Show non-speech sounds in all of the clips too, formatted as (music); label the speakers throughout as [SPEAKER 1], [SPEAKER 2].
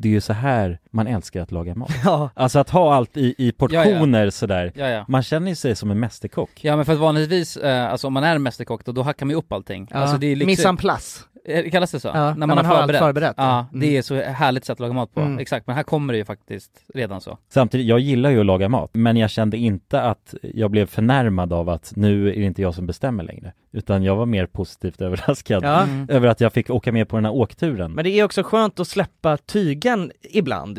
[SPEAKER 1] det är ju så här man älskar att laga mat.
[SPEAKER 2] Ja,
[SPEAKER 1] Alltså att ha allt i, i portioner sådär.
[SPEAKER 3] Ja, ja.
[SPEAKER 1] Man känner ju sig som en mästerkock.
[SPEAKER 3] Ja men för att vanligtvis, eh, alltså om man är en mästerkock då, då hackar man ju upp allting.
[SPEAKER 2] ja.
[SPEAKER 3] Alltså det är lyxigt.
[SPEAKER 2] Miss en place.
[SPEAKER 3] Eh, Kallas det så?
[SPEAKER 2] Ja, när man har allt förberett.
[SPEAKER 3] Ja,
[SPEAKER 2] Mm.
[SPEAKER 3] det är så härligt sätt att laga mat på.
[SPEAKER 2] Mm.
[SPEAKER 3] Exakt, men här kommer det ju faktiskt redan så.
[SPEAKER 1] Samtidigt, jag gillar ju att laga mat, men jag kände inte att jag blev förnärmad av att nu är det inte jag som bestämmer längre. Utan jag var mer positivt (laughs) överraskad
[SPEAKER 2] Ja.
[SPEAKER 1] över att jag fick åka med på den här åkturen.
[SPEAKER 2] Men det är också skönt att släppa tygen ibland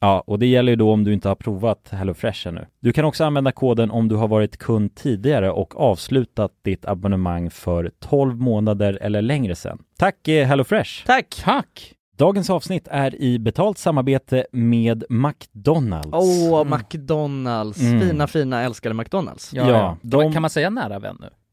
[SPEAKER 1] Ja, och det gäller ju då om du inte har provat HelloFresh ännu. Du kan också använda koden om du har varit kund tidigare och avslutat ditt abonnemang för 12 månader eller längre sedan. Tack eh, HelloFresh!
[SPEAKER 2] Tack!
[SPEAKER 3] Tack!
[SPEAKER 1] Dagens avsnitt är i betalt samarbete med McDonalds.
[SPEAKER 2] Åh, McDonalds.
[SPEAKER 1] Mm.
[SPEAKER 2] Fina, fina, älskade McDonalds.
[SPEAKER 1] Ja,
[SPEAKER 3] Ja, ja.
[SPEAKER 1] de-
[SPEAKER 3] Kan, man, kan man säga nära vän nu?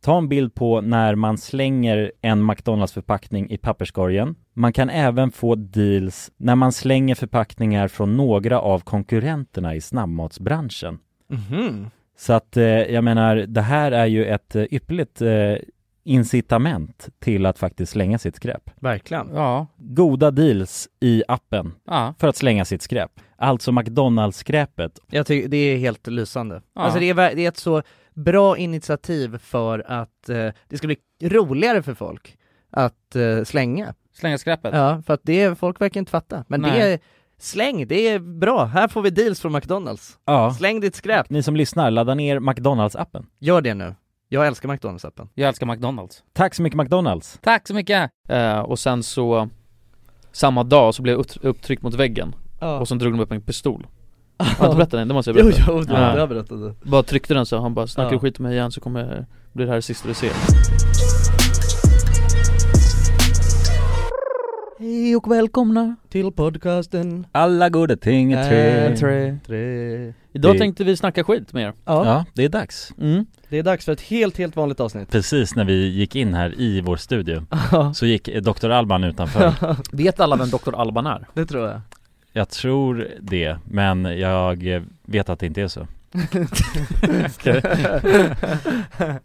[SPEAKER 1] ta en bild på när man slänger en McDonalds-förpackning i papperskorgen. Man kan även få deals när man slänger förpackningar från några av konkurrenterna i snabbmatsbranschen.
[SPEAKER 2] Mhm.
[SPEAKER 1] Så att eh, jag menar, det här är ju ett eh, ypperligt eh, incitament till att faktiskt slänga sitt skräp.
[SPEAKER 2] Verkligen.
[SPEAKER 3] Ja.
[SPEAKER 1] Goda deals i appen
[SPEAKER 3] Ja.
[SPEAKER 1] för att slänga sitt skräp. Alltså McDonalds-skräpet.
[SPEAKER 2] Jag tycker det är helt lysande.
[SPEAKER 3] Ja.
[SPEAKER 2] Alltså det är, ver- det är ett så bra initiativ för att eh, det ska bli roligare för folk att eh, slänga.
[SPEAKER 3] Slänga skräpet.
[SPEAKER 2] Ja, för att det, är- folk verkar inte fatta. Men det
[SPEAKER 3] Nej.
[SPEAKER 2] är, släng, det är bra. Här får vi deals från McDonalds.
[SPEAKER 1] Ja.
[SPEAKER 2] Släng ditt skräp.
[SPEAKER 1] Ni som lyssnar, ladda ner McDonalds-appen.
[SPEAKER 2] Gör det nu. Jag älskar McDonalds-appen.
[SPEAKER 3] Jag älskar McDonalds.
[SPEAKER 1] Tack så mycket McDonalds!
[SPEAKER 3] Tack så mycket!
[SPEAKER 4] Eh, och sen så, samma dag så blev jag upp- upptryckt mot väggen och sen drog de upp en
[SPEAKER 5] (laughs)
[SPEAKER 4] pistol. Har jag inte berättat den? Det måste jag
[SPEAKER 2] Jo,
[SPEAKER 4] berätta.
[SPEAKER 2] jo, du
[SPEAKER 4] Ja.
[SPEAKER 2] har berättat det.
[SPEAKER 4] Bara tryckte den så han bara 'snackar du
[SPEAKER 2] Ja.
[SPEAKER 4] skit med mig igen så kommer, blir det här det sista du ser'
[SPEAKER 3] Hej och välkomna!
[SPEAKER 2] Till podcasten.
[SPEAKER 1] Alla goda ting
[SPEAKER 2] är
[SPEAKER 4] Eh,
[SPEAKER 2] tre. Tre.
[SPEAKER 4] Idag
[SPEAKER 1] Det-
[SPEAKER 4] tänkte vi snacka skit med er.
[SPEAKER 2] Ja,
[SPEAKER 1] Ja, det är dags.
[SPEAKER 4] Mm.
[SPEAKER 2] det är dags för ett helt, helt vanligt avsnitt.
[SPEAKER 1] Precis när vi gick in här i vår studio
[SPEAKER 2] (laughs)
[SPEAKER 1] så gick eh, Dr. Alban utanför.
[SPEAKER 4] Vet alla vem Dr. Alban är?
[SPEAKER 2] Det tror jag.
[SPEAKER 1] Jag tror det, men jag eh, vet att det inte är så.
[SPEAKER 2] (laughs)
[SPEAKER 3] Du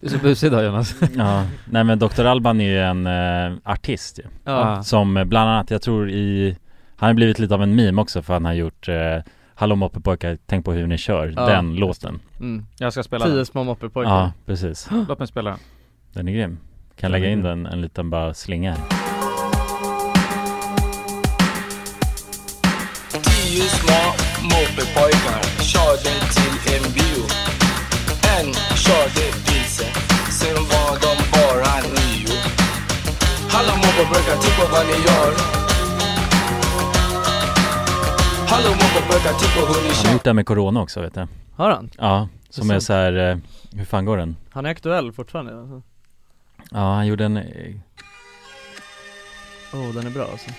[SPEAKER 3] är så busig idag Jonas.
[SPEAKER 1] Ja, nej men Dr. Alban är ju en eh, artist ju,
[SPEAKER 3] Ja.
[SPEAKER 1] Som eh, bland annat, jag tror i Han har blivit lite av en meme också för han har gjort eh, Hallå moppepojkar, tänk på hur ni kör,
[SPEAKER 2] Ja.
[SPEAKER 1] den låten
[SPEAKER 2] Mm.
[SPEAKER 3] Jag ska spela
[SPEAKER 2] Tio
[SPEAKER 3] den.
[SPEAKER 2] små moppepojkar.
[SPEAKER 1] Ja, precis
[SPEAKER 3] Låt mig spela den.
[SPEAKER 1] Den är grym Kan lägga in den, en liten bara slinga här
[SPEAKER 6] Tio små mopedpojkar körde till en bio. En körde vilse, sen var de bara nio. Hallå mopedpojkar, titta på vad ni gör. Hallå mopedpojkar, titta på hur ni
[SPEAKER 1] Han har
[SPEAKER 6] kör.
[SPEAKER 1] gjort det här med Corona också vet jag
[SPEAKER 2] Har han?
[SPEAKER 1] Ja, som
[SPEAKER 2] Det är
[SPEAKER 1] är så här, eh, hur fan går den?
[SPEAKER 2] Han är aktuell fortfarande alltså.
[SPEAKER 1] Ja, han gjorde en eh,
[SPEAKER 2] Oh, den är bra alltså.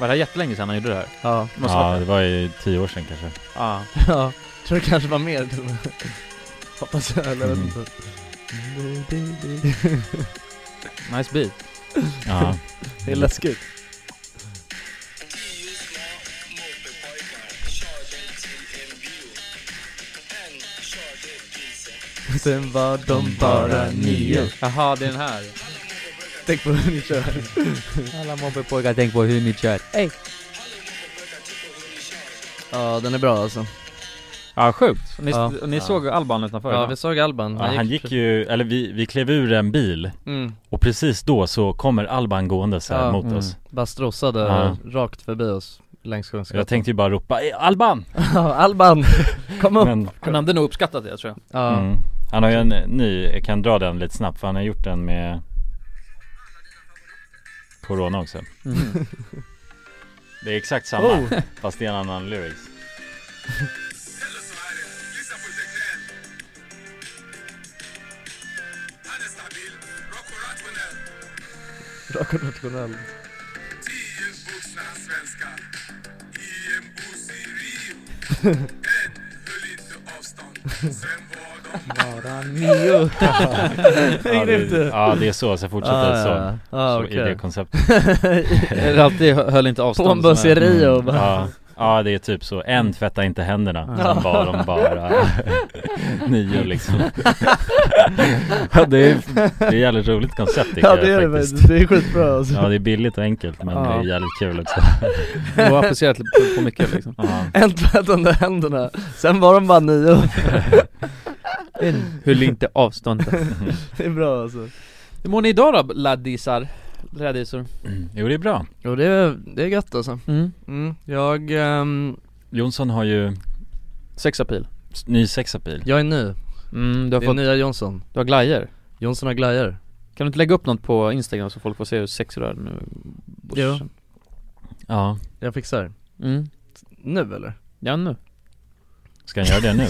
[SPEAKER 4] Var det här jättelänge sedan han gjorde det här?
[SPEAKER 2] Ja.
[SPEAKER 4] Måste
[SPEAKER 1] Ja, det var ju tio år sedan kanske
[SPEAKER 4] Ja.
[SPEAKER 2] ja. Tror det kanske var mer (laughs) till och med. Hoppas jag, eller jag vet
[SPEAKER 1] Mm.
[SPEAKER 2] inte.
[SPEAKER 4] Nice beat. (laughs)
[SPEAKER 1] Ja,
[SPEAKER 2] Det är läskigt. Sen var de bara nio.
[SPEAKER 4] Jaha, det är den här.
[SPEAKER 2] Tänk på hur ni kör.
[SPEAKER 3] Alla mobbepojkar, tänk på hur ni kör.
[SPEAKER 2] Ja, den är bra alltså.
[SPEAKER 3] Ja, sjukt. Ni,
[SPEAKER 2] Ja.
[SPEAKER 3] ni såg Alban utanför?
[SPEAKER 2] Ja,
[SPEAKER 3] idag.
[SPEAKER 2] vi såg Alban.
[SPEAKER 1] ja han gick ju, eller vi, vi klev ur en bil
[SPEAKER 2] Mm.
[SPEAKER 1] och precis då så kommer Alban gående så här
[SPEAKER 2] Ja.
[SPEAKER 1] mot
[SPEAKER 3] Mm.
[SPEAKER 1] oss
[SPEAKER 2] Bara strossade
[SPEAKER 1] Ja.
[SPEAKER 2] rakt förbi oss längs
[SPEAKER 1] Så jag
[SPEAKER 2] Kungsgatan.
[SPEAKER 1] tänkte ju bara ropa "Eh, Alban!
[SPEAKER 2] Ja, Alban! Kom upp!
[SPEAKER 1] Men,
[SPEAKER 4] Han hade nog uppskattat det tror jag.
[SPEAKER 2] Ja.
[SPEAKER 1] mm, han har ju en ny, jag kan dra den lite snabbt för han har gjort den med Corona också
[SPEAKER 4] Mm.
[SPEAKER 1] (laughs) Det är exakt samma,
[SPEAKER 2] Oh.
[SPEAKER 1] fast det är en
[SPEAKER 4] (laughs)
[SPEAKER 1] annan lyrics
[SPEAKER 2] Rak och nationell.
[SPEAKER 1] ja, det, ja det är så, så fortsätter det så,
[SPEAKER 2] ja. Ah,
[SPEAKER 1] så i
[SPEAKER 2] (laughs)
[SPEAKER 1] det
[SPEAKER 2] okej.
[SPEAKER 1] konceptet
[SPEAKER 4] Eller alltid hö- höll inte avstånd.
[SPEAKER 2] På en buss i
[SPEAKER 4] sådär.
[SPEAKER 2] Rio bara.
[SPEAKER 1] Mm. ja, ja det är typ så, en tvättar inte händerna, sen var de bara
[SPEAKER 2] (laughs)
[SPEAKER 1] nio liksom ja, det, är, det är jävligt roligt koncept tycker
[SPEAKER 2] Ja det är
[SPEAKER 1] jag
[SPEAKER 2] det
[SPEAKER 1] faktiskt
[SPEAKER 2] faktiskt, det är skitbra alltså.
[SPEAKER 1] Ja det är billigt och enkelt men det är jävligt kul också
[SPEAKER 4] Det var applicerat på, på mycket liksom.
[SPEAKER 1] ja.
[SPEAKER 2] En tvätt under händerna, sen var de bara nio.
[SPEAKER 4] (laughs) Höll inte avståndet
[SPEAKER 2] (laughs) Det är bra alltså
[SPEAKER 4] Hur mår ni idag då laddisar? (laughs) Rädisor?
[SPEAKER 1] Jo det är bra
[SPEAKER 2] Jo det är, det är gött alltså
[SPEAKER 4] Mm.
[SPEAKER 2] Jag, ehm,
[SPEAKER 1] Jonsson har ju
[SPEAKER 4] Sexapil
[SPEAKER 1] s- ny sexapil
[SPEAKER 2] jag är ny
[SPEAKER 4] Mm, du har
[SPEAKER 2] Det är
[SPEAKER 4] fått,
[SPEAKER 2] nya Jonsson
[SPEAKER 4] du har glajer
[SPEAKER 2] Jonsson har glajjor
[SPEAKER 4] Kan du inte lägga upp något på instagram så folk får se hur sexig du är nu?
[SPEAKER 2] Jo.
[SPEAKER 1] Ja,
[SPEAKER 2] Jag fixar
[SPEAKER 4] Mm,
[SPEAKER 2] Nu eller?
[SPEAKER 4] ja nu
[SPEAKER 1] ska han göra
[SPEAKER 2] (laughs)
[SPEAKER 1] det nu?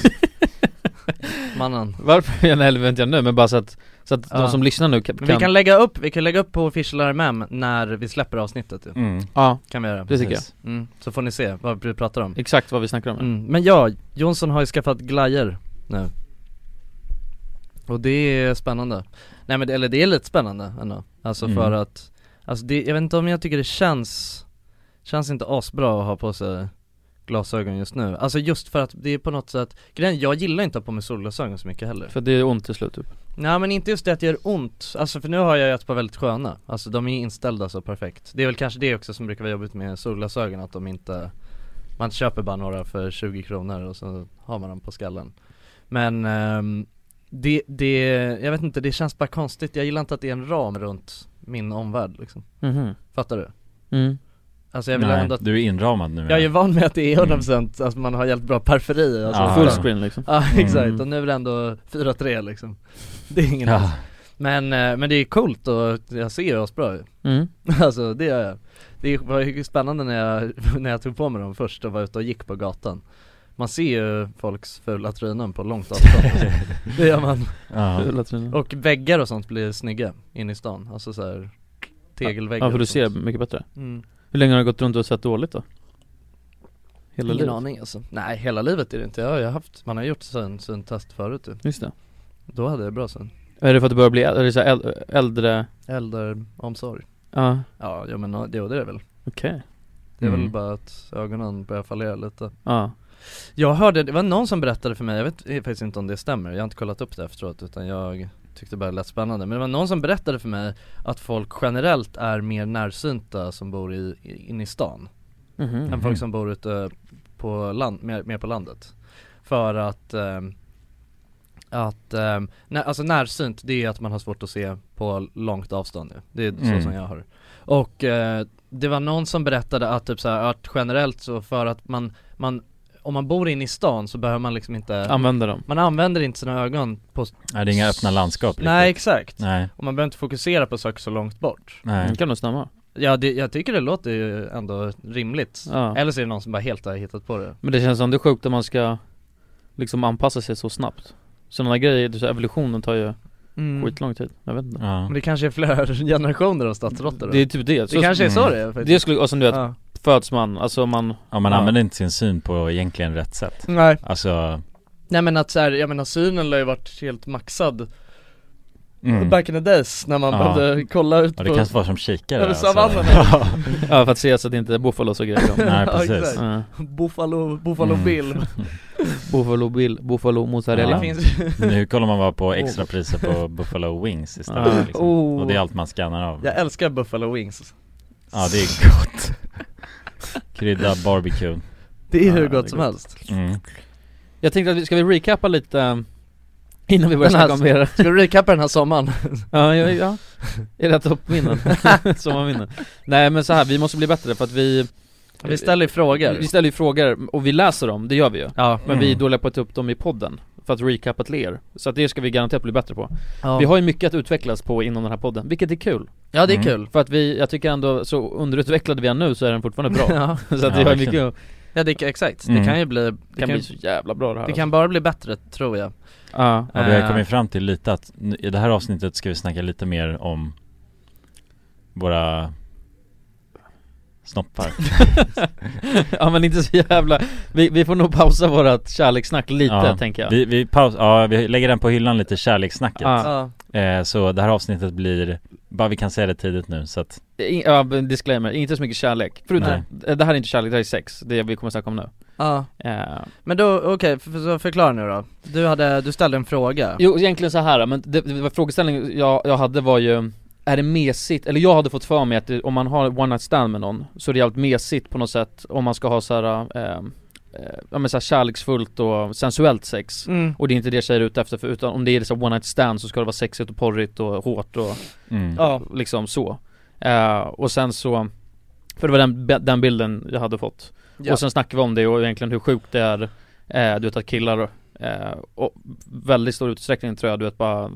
[SPEAKER 2] Mannen
[SPEAKER 4] Varför? Ja, nej, eller vänta nu men bara så att, så att
[SPEAKER 2] Ja.
[SPEAKER 4] de som lyssnar nu kan,
[SPEAKER 2] Men Vi kan lägga upp, vi kan lägga upp på official RMM när vi släpper avsnittet ju.
[SPEAKER 1] Mm.
[SPEAKER 4] Ja,
[SPEAKER 2] Kan vi göra
[SPEAKER 4] det tycker jag
[SPEAKER 1] Precis.
[SPEAKER 2] mm. Så får ni se vad vi pratar om
[SPEAKER 4] Exakt vad vi snackar om
[SPEAKER 2] mm. Men ja, Jonsson har ju skaffat glajjor nu Och det är spännande Nej men det, eller det är lite spännande ändå Alltså
[SPEAKER 1] Mm.
[SPEAKER 2] för att, alltså det, jag vet inte om jag tycker det känns, känns inte asbra att ha på sig glasögon just nu Alltså just för att det är på något sätt, grejen jag gillar inte att ha på mig solglasögon så mycket heller
[SPEAKER 4] För det är ont till slut typ
[SPEAKER 2] Nej men inte just det att det gör ont, alltså för nu har jag ju ett par väldigt sköna Alltså de är ju inställda så perfekt Det är väl kanske det också som brukar vara jobbigt med solglasögon att de inte Man köper bara några för 20 kronor och så har man dem på skallen Men ehm, det, det, jag vet inte, det känns bara konstigt Jag gillar inte att det är en ram runt min omvärld liksom
[SPEAKER 4] Mhm.
[SPEAKER 2] Fattar du?
[SPEAKER 4] Mm.
[SPEAKER 2] Alltså jag vill
[SPEAKER 1] Nej,
[SPEAKER 2] ändå att
[SPEAKER 1] du är inramad nu
[SPEAKER 2] Jag är ju van med att det är 100% alltså man har helt bra periferi alltså
[SPEAKER 1] Ja,
[SPEAKER 4] Full
[SPEAKER 1] ja.
[SPEAKER 4] screen liksom
[SPEAKER 2] Ja exakt,
[SPEAKER 1] Mm.
[SPEAKER 2] och nu är det ändå 4-3 liksom Det är ingen
[SPEAKER 1] ja.
[SPEAKER 2] men, eh, men det är coolt och jag ser ju asbra ut
[SPEAKER 4] mm.
[SPEAKER 2] (laughs) Alltså det gör jag Det var ju spännande när jag, (laughs) när jag tog på mig dem först och var ute och gick på gatan Man ser ju folks fula trynen på långt
[SPEAKER 4] (laughs)
[SPEAKER 2] avstånd Det gör man
[SPEAKER 1] Ja.
[SPEAKER 4] Fula trynen.
[SPEAKER 2] Och väggar och sånt blir snygga inne i stan, alltså så här tegelväggar
[SPEAKER 4] Ja för du
[SPEAKER 2] och
[SPEAKER 4] ser
[SPEAKER 2] sånt.
[SPEAKER 4] mycket bättre
[SPEAKER 2] mm.
[SPEAKER 4] Hur länge har du gått runt och sett dåligt då? Hela
[SPEAKER 2] Ingen
[SPEAKER 4] livet?
[SPEAKER 2] aning alltså Nej hela livet är det inte, jag har ju haft, man har gjort syn, syntest förut ju.
[SPEAKER 4] Just det
[SPEAKER 2] Då hade jag bra syn
[SPEAKER 4] Är det för att du börjar bli äldre, eller så här äl- äldre?
[SPEAKER 2] Äldreomsorg
[SPEAKER 4] Ja,
[SPEAKER 2] Ja, ja men no- jo det är det väl
[SPEAKER 4] okej
[SPEAKER 2] Det är
[SPEAKER 1] Mm.
[SPEAKER 2] väl bara att ögonen börjar fallera lite
[SPEAKER 4] Ja,
[SPEAKER 2] Jag hörde, det var någon som berättade för mig, jag vet faktiskt inte om det stämmer, jag har inte kollat upp det efteråt utan jag tyckte bara det lät spännande Men det var någon som berättade för mig att folk generellt är mer närsynta som bor i, inne i stan
[SPEAKER 4] mhm
[SPEAKER 2] Än
[SPEAKER 1] Mm-hmm.
[SPEAKER 2] folk som bor ute på land, mer, mer på landet För att, ehm, att, ehm, när, alltså närsynt det är att man har svårt att se på långt avstånd nu. Det är
[SPEAKER 1] Mm.
[SPEAKER 2] så som jag har Och eh, det var någon som berättade att typ så här, att generellt så för att man, man, om man bor inne i stan så behöver man liksom inte
[SPEAKER 4] Använder dem?
[SPEAKER 2] Man använder inte sina ögon på,
[SPEAKER 1] Nej det är inga öppna landskap riktigt.
[SPEAKER 2] nej exakt
[SPEAKER 1] Nej,
[SPEAKER 2] Och man behöver inte fokusera på saker så långt bort
[SPEAKER 1] nej.
[SPEAKER 4] Det kan nog stämma
[SPEAKER 2] Ja det, jag tycker det låter ju ändå rimligt
[SPEAKER 4] Ja.
[SPEAKER 2] Eller så är det någon som bara helt har hittat på det
[SPEAKER 4] Men det känns ändå sjukt att man ska liksom anpassa sig så snabbt Sådana grejer, så evolutionen tar ju skitlång tid, jag vet inte
[SPEAKER 1] Ja.
[SPEAKER 2] Men det kanske är flera (laughs) generationer av stadsråttor då?
[SPEAKER 4] Det är typ det,
[SPEAKER 2] Det kanske är så
[SPEAKER 1] Mm.
[SPEAKER 2] det är faktiskt.
[SPEAKER 4] Det skulle, och som du vet,
[SPEAKER 2] Ja.
[SPEAKER 4] föds man, alltså man
[SPEAKER 1] ja man
[SPEAKER 4] Ja.
[SPEAKER 1] använder inte sin syn på egentligen rätt sätt
[SPEAKER 2] Nej.
[SPEAKER 1] Alltså,
[SPEAKER 2] Nej men att så här, jag menar synen har ju varit helt maxad
[SPEAKER 1] mm.
[SPEAKER 2] back in the days när man
[SPEAKER 1] Ja.
[SPEAKER 2] behövde kolla ut
[SPEAKER 1] ja,
[SPEAKER 2] på
[SPEAKER 1] det
[SPEAKER 2] (laughs)
[SPEAKER 1] kan vara som kikare alltså.
[SPEAKER 2] Över savannen.
[SPEAKER 1] (laughs) Ja.
[SPEAKER 4] Ja för att se så att det inte är buffalos och grejer
[SPEAKER 1] Nej
[SPEAKER 2] Ja,
[SPEAKER 1] precis,
[SPEAKER 2] exakt.
[SPEAKER 4] ja.
[SPEAKER 2] Buffalo, Buffalo
[SPEAKER 1] Mm.
[SPEAKER 2] Bill
[SPEAKER 4] (laughs) Buffalo bill, buffalo
[SPEAKER 2] Det
[SPEAKER 4] mozzarella
[SPEAKER 1] Ja.
[SPEAKER 2] finns (laughs)
[SPEAKER 1] nu kollar man bara på extrapriser på Buffalo Wings
[SPEAKER 4] Ja.
[SPEAKER 1] istället liksom.
[SPEAKER 2] Oh.
[SPEAKER 1] Och det är allt man scannar av
[SPEAKER 2] Jag älskar Buffalo Wings
[SPEAKER 1] Ja det är gott (laughs) Krydda barbecue
[SPEAKER 2] Det är
[SPEAKER 4] Ja,
[SPEAKER 2] hur
[SPEAKER 4] det är
[SPEAKER 2] gott som
[SPEAKER 4] gott.
[SPEAKER 2] helst
[SPEAKER 1] mm.
[SPEAKER 4] Jag tänkte att vi, ska vi recappa lite eh, Innan vi börjar
[SPEAKER 2] Den här-
[SPEAKER 4] snacka om era,
[SPEAKER 2] Ska du recappa den här sommaren?
[SPEAKER 4] (laughs) ja, ja, ja.
[SPEAKER 2] (laughs)
[SPEAKER 4] era toppminnen, sommarminnen Nej men så här, vi måste bli bättre för att vi
[SPEAKER 2] Vi ställer ju frågor
[SPEAKER 4] Vi ställer ju frågor och vi läser dem, det gör vi ju
[SPEAKER 2] Ja,
[SPEAKER 4] Men vi är
[SPEAKER 1] Mm.
[SPEAKER 4] dåliga på att ta upp dem i podden För att recappa till er Så att det ska vi garanterat bli bättre på
[SPEAKER 2] ja.
[SPEAKER 4] Vi har ju mycket att utvecklas på inom den här podden, vilket är kul
[SPEAKER 2] ja det är
[SPEAKER 1] Mm.
[SPEAKER 2] kul
[SPEAKER 4] För att vi, jag tycker ändå, så underutvecklade vi är nu så är den fortfarande bra
[SPEAKER 2] (laughs) Ja,
[SPEAKER 4] Så att vi
[SPEAKER 1] Ja,
[SPEAKER 4] har
[SPEAKER 1] verkligen.
[SPEAKER 4] mycket, att-
[SPEAKER 2] ja det, exakt, det
[SPEAKER 1] Mm.
[SPEAKER 2] kan ju bli,
[SPEAKER 4] det
[SPEAKER 2] det
[SPEAKER 4] kan
[SPEAKER 2] kan,
[SPEAKER 4] bli så jävla bra det här
[SPEAKER 2] det kan bara bli bättre tror jag
[SPEAKER 4] alltså. ja.
[SPEAKER 1] Ja, vi har
[SPEAKER 2] Eh.
[SPEAKER 1] kommit fram till lite att nu- i det här avsnittet ska vi snacka lite mer om våra snoppar.
[SPEAKER 4] (laughs) ja men inte så jävla, vi, vi får nog pausa vårat kärlekssnack lite
[SPEAKER 1] Ja,
[SPEAKER 4] tänker jag
[SPEAKER 1] Vi, vi, paus, ja, vi lägger den på hyllan lite, kärlekssnacket.
[SPEAKER 4] Ja.
[SPEAKER 2] Ja,
[SPEAKER 1] Eh, så det här avsnittet blir, bara vi kan säga det tidigt nu så att,
[SPEAKER 4] I- Ja, men disclaimer, inte så mycket kärlek, förutom, eh, det här är inte kärlek, det här är sex, det vi kommer snacka om nu
[SPEAKER 2] ja.
[SPEAKER 4] Eh,
[SPEAKER 2] Men då, okej, för- för, så förklara nu då. Du hade, du ställde en fråga
[SPEAKER 4] Jo, egentligen så här men det, det var frågeställningen jag, jag hade var ju är det mesigt, eller jag hade fått för mig att det, om man har one night stand med någon Så är det jävligt mesigt på något sätt om man ska ha så här eh, ja men så här kärleksfullt och sensuellt sex
[SPEAKER 2] Mm.
[SPEAKER 4] Och det är inte det tjejer är ute efter, för utan om det är så här one night stand så ska det vara sexigt och porrigt och hårt och
[SPEAKER 1] Mm.
[SPEAKER 2] Ja.
[SPEAKER 4] liksom så Eh, Och sen så För det var den, be- den bilden jag hade fått
[SPEAKER 2] Ja.
[SPEAKER 4] Och sen snackade vi om det och egentligen hur sjukt det är eh, Du vet att killar eh, och väldigt stor utsträckning tror jag du vet bara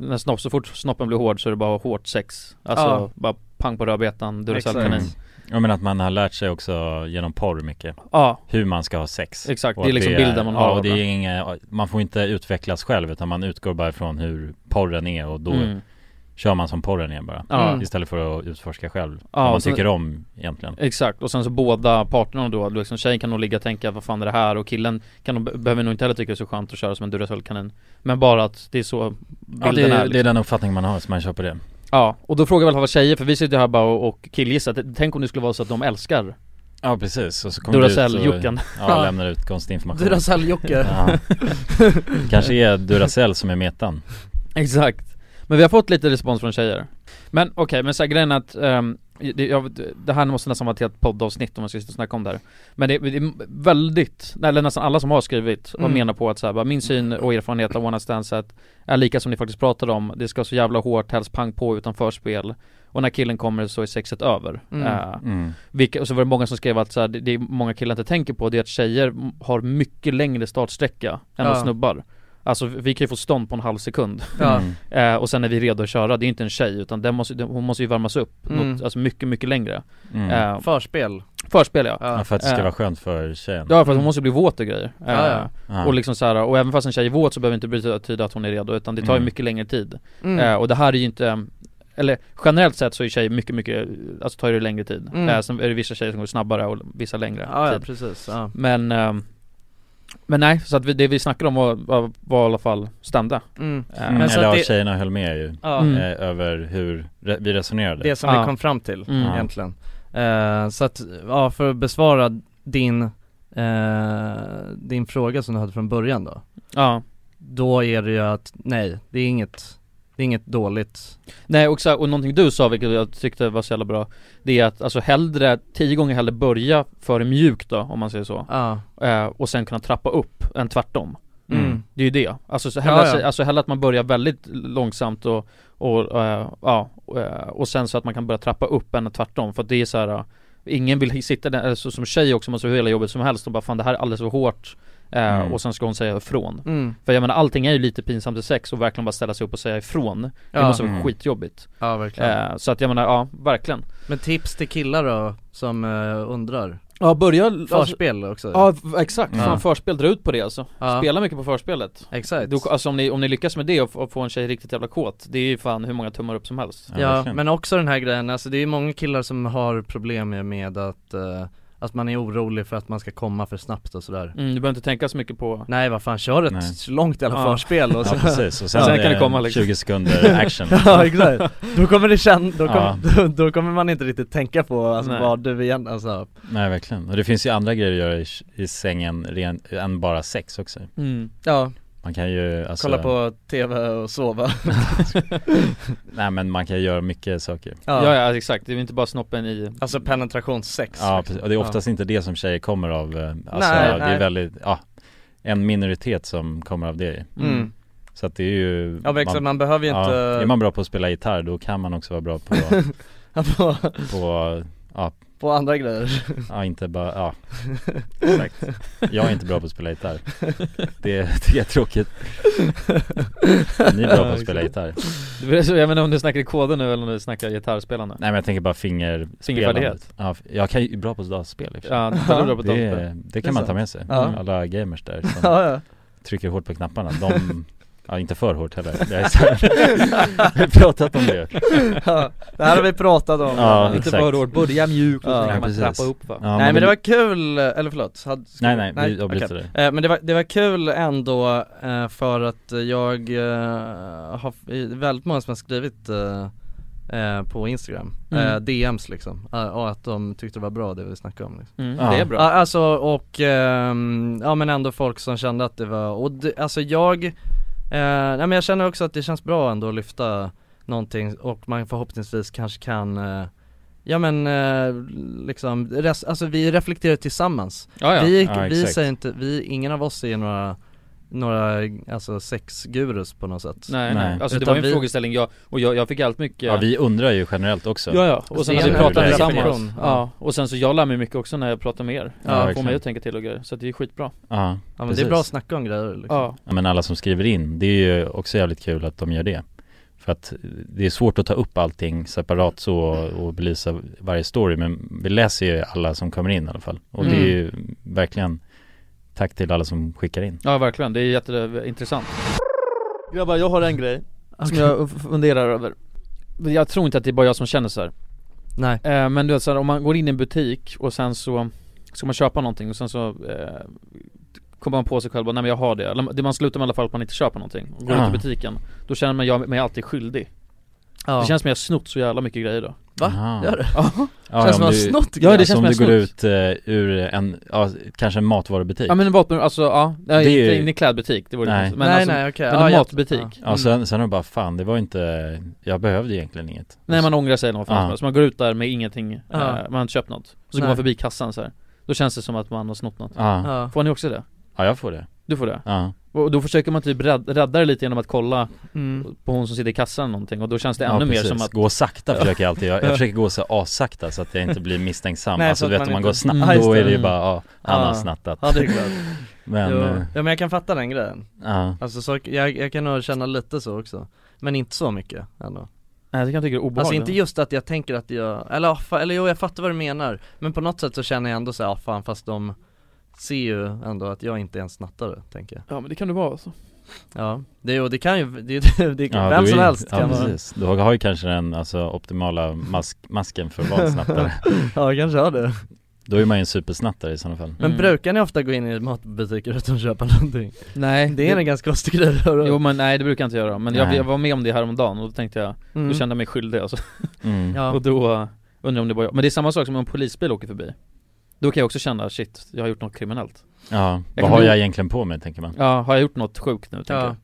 [SPEAKER 4] när snopp, så fort snoppen blir hård så är det bara hårt sex Alltså
[SPEAKER 1] Ja.
[SPEAKER 4] bara pang på rödbetan, Duracell
[SPEAKER 1] Mm.
[SPEAKER 4] kanin
[SPEAKER 1] Ja men att man har lärt sig också genom porr mycket
[SPEAKER 4] Ja.
[SPEAKER 1] Hur man ska ha sex
[SPEAKER 4] Exakt,
[SPEAKER 1] Och
[SPEAKER 4] det är
[SPEAKER 1] att
[SPEAKER 4] liksom bilden man har
[SPEAKER 1] Ja och
[SPEAKER 4] av
[SPEAKER 1] det är
[SPEAKER 4] det.
[SPEAKER 1] inga, man får inte utvecklas själv utan man utgår bara från hur porren är och då
[SPEAKER 4] Mm.
[SPEAKER 1] kör man som porren är bara
[SPEAKER 4] Ja.
[SPEAKER 1] Istället för att utforska själv
[SPEAKER 4] Ja,
[SPEAKER 1] vad man
[SPEAKER 4] och sen-
[SPEAKER 1] tycker om egentligen
[SPEAKER 4] Exakt, och sen så båda parterna då, liksom tjejen kan nog ligga och tänka vad fan är det här och killen kan nog, behöver nog inte heller tycka det är så skönt att köra som en Duracellkanin Men bara att det är så bilden
[SPEAKER 1] Ja, det,
[SPEAKER 4] är
[SPEAKER 1] är,
[SPEAKER 4] liksom.
[SPEAKER 1] det är den uppfattning man har som man köper det
[SPEAKER 4] Ja, och då frågar jag i alla fall vad tjejer, för vi sitter här bara och, och killgissar Tänk om det skulle vara så att de älskar
[SPEAKER 1] Ja precis, och så kommer du ut och-
[SPEAKER 4] (laughs) Duracell-Jockan
[SPEAKER 1] Ja, lämnar ut konstig information
[SPEAKER 2] Duracell-Jocke.
[SPEAKER 1] ja. Kanske är Duracell som är metan
[SPEAKER 4] Exakt Men vi har fått lite respons från tjejer Men okej, men så här, grejen är att ehm, det, jag, det här måste nästan vara ett helt poddavsnitt om man ska sitta och snacka om det här Men det, det är väldigt, eller nästan alla som har skrivit och
[SPEAKER 2] Mm.
[SPEAKER 4] menar på att så här, bara, min syn och erfarenhet av One Night Stands är att- är lika som ni faktiskt pratade om Det ska så jävla hårt, helst pang på utan förspel Och när killen kommer så är sexet över
[SPEAKER 2] Mm.
[SPEAKER 4] Eh,
[SPEAKER 1] Mm.
[SPEAKER 4] vilka, och så var det många som skrev att så här, det, det är många killar inte tänker på det är att tjejer m- har mycket längre startsträcka än
[SPEAKER 2] Ja.
[SPEAKER 4] vad snubbar Alltså vi kan ju få stånd på en halv sekund
[SPEAKER 2] Ja.
[SPEAKER 1] Mm.
[SPEAKER 4] eh, Och sen är vi redo att köra, det är inte en tjej utan den måste, den, hon måste ju värmas upp
[SPEAKER 2] Mm.
[SPEAKER 4] något, Alltså mycket, mycket längre Eh,
[SPEAKER 1] Mm.
[SPEAKER 2] Förspel.
[SPEAKER 4] Förspel ja,
[SPEAKER 1] Ja, för att det ska
[SPEAKER 4] Eh,
[SPEAKER 1] vara skönt för tjejen
[SPEAKER 4] Ja för att hon måste bli våt och grejer
[SPEAKER 2] Ja, ja.
[SPEAKER 4] Eh,
[SPEAKER 1] Ja.
[SPEAKER 4] Och liksom så här, och även fast en tjej är våt så behöver det inte betyda att hon är redo utan det tar ju
[SPEAKER 1] Mm.
[SPEAKER 4] mycket längre tid
[SPEAKER 2] Mm.
[SPEAKER 4] Eh, Och det här är ju inte eller generellt sett så är tjejer mycket, mycket, alltså tar det längre tid.
[SPEAKER 2] Mm.
[SPEAKER 4] Eh, sen är det vissa tjejer som går snabbare och vissa längre
[SPEAKER 2] Ja, ja
[SPEAKER 4] tid.
[SPEAKER 2] precis, ja.
[SPEAKER 4] Men, ehm, men nej, så att vi, det vi snackade om var, var, var i alla fall standard
[SPEAKER 2] Mm.
[SPEAKER 4] Eh,
[SPEAKER 1] Mm,
[SPEAKER 2] Men så
[SPEAKER 1] eller
[SPEAKER 2] att
[SPEAKER 1] det...
[SPEAKER 2] det-
[SPEAKER 1] tjejerna höll med ju
[SPEAKER 2] Ja.
[SPEAKER 1] eh,
[SPEAKER 2] Mm.
[SPEAKER 1] Över hur re- vi resonerade
[SPEAKER 2] Det som vi kom fram till
[SPEAKER 4] Mm.
[SPEAKER 2] egentligen Eh, Så att, ja för att besvara din, eh, din fråga som du hade från början då
[SPEAKER 4] Ja
[SPEAKER 2] Då är det ju att, nej det är inget, det är inget dåligt
[SPEAKER 4] Nej och, så, här- och någonting du sa vilket jag tyckte var så jävla bra Det är att alltså hellre, tio gånger hellre börja för mjukt då om man säger så
[SPEAKER 2] Ja.
[SPEAKER 4] eh, Och sen kunna trappa upp än tvärtom
[SPEAKER 2] Mm.
[SPEAKER 4] Det är ju det, alltså, så hellre,
[SPEAKER 2] Ja, ja.
[SPEAKER 4] alltså hellre att man börjar väldigt långsamt och, och eh, ja, och, eh, och sen så att man kan börja trappa upp än tvärtom för att det är så här eh, Ingen vill sitta där, alltså, som tjej också måste ha hela jobbet som helst och bara fan det här är alldeles för hårt eh,
[SPEAKER 1] Mm.
[SPEAKER 4] Och sen ska hon säga ifrån
[SPEAKER 2] Mm.
[SPEAKER 4] För jag menar allting är ju lite pinsamt i sex och verkligen bara ställa sig upp och säga ifrån Det
[SPEAKER 2] Ja.
[SPEAKER 4] måste vara
[SPEAKER 2] Mm.
[SPEAKER 4] skitjobbigt
[SPEAKER 2] Ja, verkligen.
[SPEAKER 4] eh, Så att jag menar, ja verkligen
[SPEAKER 2] Men tips till killar då som eh, undrar
[SPEAKER 4] Ja börja alltså,
[SPEAKER 2] Förspel också
[SPEAKER 4] Ja v- exakt,
[SPEAKER 2] Ja.
[SPEAKER 4] fan förspel drar ut på det alltså
[SPEAKER 2] Ja.
[SPEAKER 4] Spela mycket på förspelet
[SPEAKER 2] Exakt
[SPEAKER 4] Då, Alltså om ni, om ni lyckas med det och, f- och få en tjej riktigt jävla kåt Det är ju fan hur många tummar upp som helst
[SPEAKER 2] Ja, men också den här grejen, alltså det är ju många killar som har problem med- med att, eh, att man är orolig för att man ska komma för snabbt och sådär
[SPEAKER 4] Mm, du behöver inte tänka så mycket på
[SPEAKER 2] Nej vad fan, kör ett
[SPEAKER 4] Nej.
[SPEAKER 2] långt jävla
[SPEAKER 4] Ja.
[SPEAKER 2] förspel och
[SPEAKER 4] Ja,
[SPEAKER 2] så
[SPEAKER 4] precis. Och sen Sen kan är det komma liksom.
[SPEAKER 2] (laughs)
[SPEAKER 1] 20 sekunder action.
[SPEAKER 2] Ja exakt, då kommer det känna, då,
[SPEAKER 1] Ja.
[SPEAKER 2] kommer då, då kommer man inte riktigt tänka på alltså,
[SPEAKER 1] Nej.
[SPEAKER 2] vad du igen, alltså
[SPEAKER 1] Nej verkligen, och det finns ju andra grejer att göra i, i sängen ren, än bara sex också
[SPEAKER 4] Mm.
[SPEAKER 2] Ja,
[SPEAKER 1] Man kan ju alltså,
[SPEAKER 2] kolla på TV och sova
[SPEAKER 1] (laughs) Nej men man kan ju göra mycket saker
[SPEAKER 4] Ja. ja exakt, det är inte bara snoppen i
[SPEAKER 2] Alltså penetrationssex
[SPEAKER 1] Ja precis. och det är oftast inte det som tjejer kommer av eh, Alltså
[SPEAKER 2] Nej,
[SPEAKER 1] det
[SPEAKER 2] nej.
[SPEAKER 1] är väldigt, ja En minoritet som kommer av det
[SPEAKER 2] Mm.
[SPEAKER 1] Så att det är ju
[SPEAKER 2] Ja, men exakt, man behöver ju inte-
[SPEAKER 1] Är man bra på att spela gitarr då kan man också vara
[SPEAKER 2] (laughs)
[SPEAKER 1] bra på
[SPEAKER 2] på,
[SPEAKER 1] på ja,
[SPEAKER 2] på andra grejer
[SPEAKER 1] ja inte
[SPEAKER 2] (laughs)
[SPEAKER 1] bara, ja Exakt Jag är inte bra på att spela gitarr Det tycker jag är tråkigt (laughs) Ni är bra på att
[SPEAKER 4] (laughs)
[SPEAKER 1] spela gitarr
[SPEAKER 4] Du- så Jag menar om du snackar i koder nu eller om du snackar gitarrspelande
[SPEAKER 1] Nej men jag tänker bara fingerspelandet
[SPEAKER 4] Fingerfärdighet.
[SPEAKER 1] ja, Jag kan ju bra på dataspel i och för sig.
[SPEAKER 4] Ja, du är bra på
[SPEAKER 1] det,
[SPEAKER 4] dataspel.
[SPEAKER 1] det
[SPEAKER 4] Det är
[SPEAKER 1] kan man ta
[SPEAKER 4] sant.
[SPEAKER 1] med sig,
[SPEAKER 4] Ja.
[SPEAKER 1] alla gamers där som
[SPEAKER 4] Ja, ja.
[SPEAKER 1] trycker hårt på knapparna, de (laughs) Ja inte för hårt heller, det är så här. (laughs) vi har pratat om det
[SPEAKER 2] Ja, det här har vi pratat om.
[SPEAKER 1] Ja,
[SPEAKER 2] Inte
[SPEAKER 1] exakt.
[SPEAKER 2] för hårt, börja mjukt och så kan man
[SPEAKER 1] precis.
[SPEAKER 2] trappa upp, va?
[SPEAKER 1] Ja,
[SPEAKER 2] nej men, det var kul, eller förlåt, hade, ska-
[SPEAKER 1] Nej, nej, vi avbryter
[SPEAKER 2] okej. Eh, Men det var, det var kul ändå eh, för att jag eh, har det är väldigt många som har skrivit eh, eh, på Instagram,
[SPEAKER 4] Mm.
[SPEAKER 2] eh, DMs liksom, eh, och att de tyckte det var bra det vi snackade om liksom.
[SPEAKER 4] Mm, Ja. det är bra.
[SPEAKER 2] Ja, Alltså och, ehm, ja men ändå folk som kände att det var, och det, alltså jag, eh, nej men jag känner också att det känns bra ändå att lyfta någonting och man förhoppningsvis kanske kan eh, Ja men eh, liksom, res, alltså vi reflekterar tillsammans
[SPEAKER 4] Ja, ja.
[SPEAKER 2] Vi,
[SPEAKER 4] Ja,
[SPEAKER 2] vi
[SPEAKER 4] exakt.
[SPEAKER 2] säger inte, vi, ingen av oss är några, några alltså sexgurus på något sätt
[SPEAKER 4] Nej, nej. Alltså det
[SPEAKER 2] Utan
[SPEAKER 4] var ju en
[SPEAKER 2] vi-
[SPEAKER 4] frågeställning jag, och jag, jag fick allt mycket
[SPEAKER 1] Ja, vi undrar ju generellt också.
[SPEAKER 4] Ja, ja, och sen
[SPEAKER 1] Det
[SPEAKER 4] när
[SPEAKER 1] är
[SPEAKER 4] vi
[SPEAKER 1] en
[SPEAKER 4] pratar
[SPEAKER 1] relation.
[SPEAKER 4] tillsammans Ja, och sen så jag lär mig mycket också när jag pratar med er
[SPEAKER 1] Ja,
[SPEAKER 4] ja, Får
[SPEAKER 1] verkligen.
[SPEAKER 4] mig att tänka till och grejer, så att det är skitbra
[SPEAKER 1] Ja, Ja, men
[SPEAKER 2] det är bra att snacka om grejer liksom.
[SPEAKER 4] Ja,
[SPEAKER 1] Ja, men alla som skriver in, det är ju också jävligt kul att de gör det. För att det är svårt att ta upp allting separat så och belysa varje story, men vi läser ju alla som kommer in i alla fall. Och det är ju
[SPEAKER 2] Mm.
[SPEAKER 1] verkligen tack till alla som skickar in.
[SPEAKER 4] ja verkligen, det är jätteintressant Grabbar, jag har en grej som jag funderar över Jag tror inte att det är bara jag som känner så här.
[SPEAKER 2] Nej
[SPEAKER 4] Eh, Men du vet så här, om man går in i en butik och sen så ska man köpa någonting och sen så eh, kommer man på sig själv bara, nej men jag har det. Eller det- man slutar med i alla fall att man inte köper någonting och går
[SPEAKER 2] Ja.
[SPEAKER 4] ut i butiken. Då känner man jag mig alltid skyldig.
[SPEAKER 2] Ja.
[SPEAKER 4] Det känns som jag har snott så jävla mycket grejer då.
[SPEAKER 2] Va?
[SPEAKER 1] Aha.
[SPEAKER 2] Gör det?
[SPEAKER 4] (laughs) Ja.
[SPEAKER 1] Ja,
[SPEAKER 2] Känns som
[SPEAKER 1] om
[SPEAKER 2] att
[SPEAKER 1] du-
[SPEAKER 2] jag har snott
[SPEAKER 4] grejer.
[SPEAKER 1] Ja, det känns som
[SPEAKER 4] jag
[SPEAKER 1] du går
[SPEAKER 4] snott.
[SPEAKER 1] ut eh, ur en, ja, kanske en matvarubutik.
[SPEAKER 4] Ja men en vapen, alltså ja, nej,
[SPEAKER 1] Det är
[SPEAKER 4] inte
[SPEAKER 1] ju-
[SPEAKER 4] in i klädbutik, det vore
[SPEAKER 1] Nej. Alltså,
[SPEAKER 4] konstigt. men
[SPEAKER 2] Nej,
[SPEAKER 4] alltså,
[SPEAKER 2] nej, okej.
[SPEAKER 4] Men
[SPEAKER 2] Ja,
[SPEAKER 4] en
[SPEAKER 2] jag-
[SPEAKER 4] matbutik.
[SPEAKER 2] ja.
[SPEAKER 1] Ja, sen, sen är det bara fan, det var inte, jag behövde egentligen inget.
[SPEAKER 4] Nej man ångrar sig eller vad fan
[SPEAKER 1] Ja.
[SPEAKER 4] som helst. Man går ut där med ingenting,
[SPEAKER 2] Ja.
[SPEAKER 4] eh, man har inte köpt något. Och så går
[SPEAKER 2] Nej.
[SPEAKER 4] man förbi kassan så här. Då känns det som att man har snott något.
[SPEAKER 1] Ja.
[SPEAKER 2] Ja.
[SPEAKER 4] Får ni också det?
[SPEAKER 1] Ja, jag får det.
[SPEAKER 4] Du får det?
[SPEAKER 1] Ja.
[SPEAKER 4] Och då försöker man typ rädd- rädda det lite genom att kolla
[SPEAKER 2] Mm.
[SPEAKER 4] på hon som sitter i kassan eller någonting och då känns det
[SPEAKER 1] Ja,
[SPEAKER 4] ännu mer
[SPEAKER 1] precis.
[SPEAKER 4] som att
[SPEAKER 1] Gå sakta försöker jag alltid, jag,
[SPEAKER 2] (laughs)
[SPEAKER 1] jag
[SPEAKER 4] Ja.
[SPEAKER 1] försöker gå så assakta så att jag inte blir misstänksam
[SPEAKER 2] Nej,
[SPEAKER 1] Alltså
[SPEAKER 2] så
[SPEAKER 1] du
[SPEAKER 2] att man
[SPEAKER 1] vet om man
[SPEAKER 2] inte-
[SPEAKER 1] går snabbt
[SPEAKER 2] Ja, just
[SPEAKER 1] då är
[SPEAKER 2] det.
[SPEAKER 1] det ju bara, ja, han har
[SPEAKER 2] Ja.
[SPEAKER 1] snattat
[SPEAKER 2] Ja det är klart
[SPEAKER 1] Men,
[SPEAKER 2] jo.
[SPEAKER 1] eh,
[SPEAKER 2] (laughs) Ja men jag kan fatta den grejen
[SPEAKER 1] Ja.
[SPEAKER 2] Alltså så, jag, jag kan nog känna lite så också Men inte så mycket ändå
[SPEAKER 4] Nej det kan jag tycka är obehagligt
[SPEAKER 2] Alltså inte just att jag tänker att jag, eller, ja, fa- eller jo jag fattar vad du menar Men på något sätt så känner jag ändå såhär, ja fan fast de ser ju ändå att jag inte är en snattare, tänker jag
[SPEAKER 4] Ja men det kan du vara alltså
[SPEAKER 2] Ja, det, jo, det kan ju, det, (laughs) det, det,
[SPEAKER 1] ja,
[SPEAKER 2] vem
[SPEAKER 1] du är-
[SPEAKER 2] som helst
[SPEAKER 1] ja,
[SPEAKER 2] kan vara
[SPEAKER 1] precis. Du har- har ju kanske den alltså, optimala mask, masken för
[SPEAKER 2] (laughs)
[SPEAKER 1] att vara en snattare
[SPEAKER 2] Ja, kanske har det
[SPEAKER 1] Då är man ju en supersnattare i sådana fall
[SPEAKER 4] Mm.
[SPEAKER 2] Men brukar ni ofta gå in i matbutiker utan att köpa någonting?
[SPEAKER 4] Nej
[SPEAKER 2] Det är en ganska konstig grej att göra
[SPEAKER 4] Jo men nej det brukar jag inte göra, men jag,
[SPEAKER 1] Nej.
[SPEAKER 4] jag var med om det häromdagen och då tänkte jag,
[SPEAKER 2] Mm.
[SPEAKER 4] då kände jag mig skyldig alltså
[SPEAKER 1] Mm.
[SPEAKER 2] Ja.
[SPEAKER 4] (laughs) Och då eh, undrar jag om det var jag, men det är samma sak som om en polisbil åker förbi Då kan jag också känna, shit, jag har gjort något kriminellt
[SPEAKER 1] Ja,
[SPEAKER 4] Jag
[SPEAKER 1] vad
[SPEAKER 4] kan
[SPEAKER 1] har
[SPEAKER 4] bli-
[SPEAKER 1] jag egentligen på mig tänker man?
[SPEAKER 4] Ja, har jag gjort något sjukt nu tänker
[SPEAKER 2] ja.
[SPEAKER 4] jag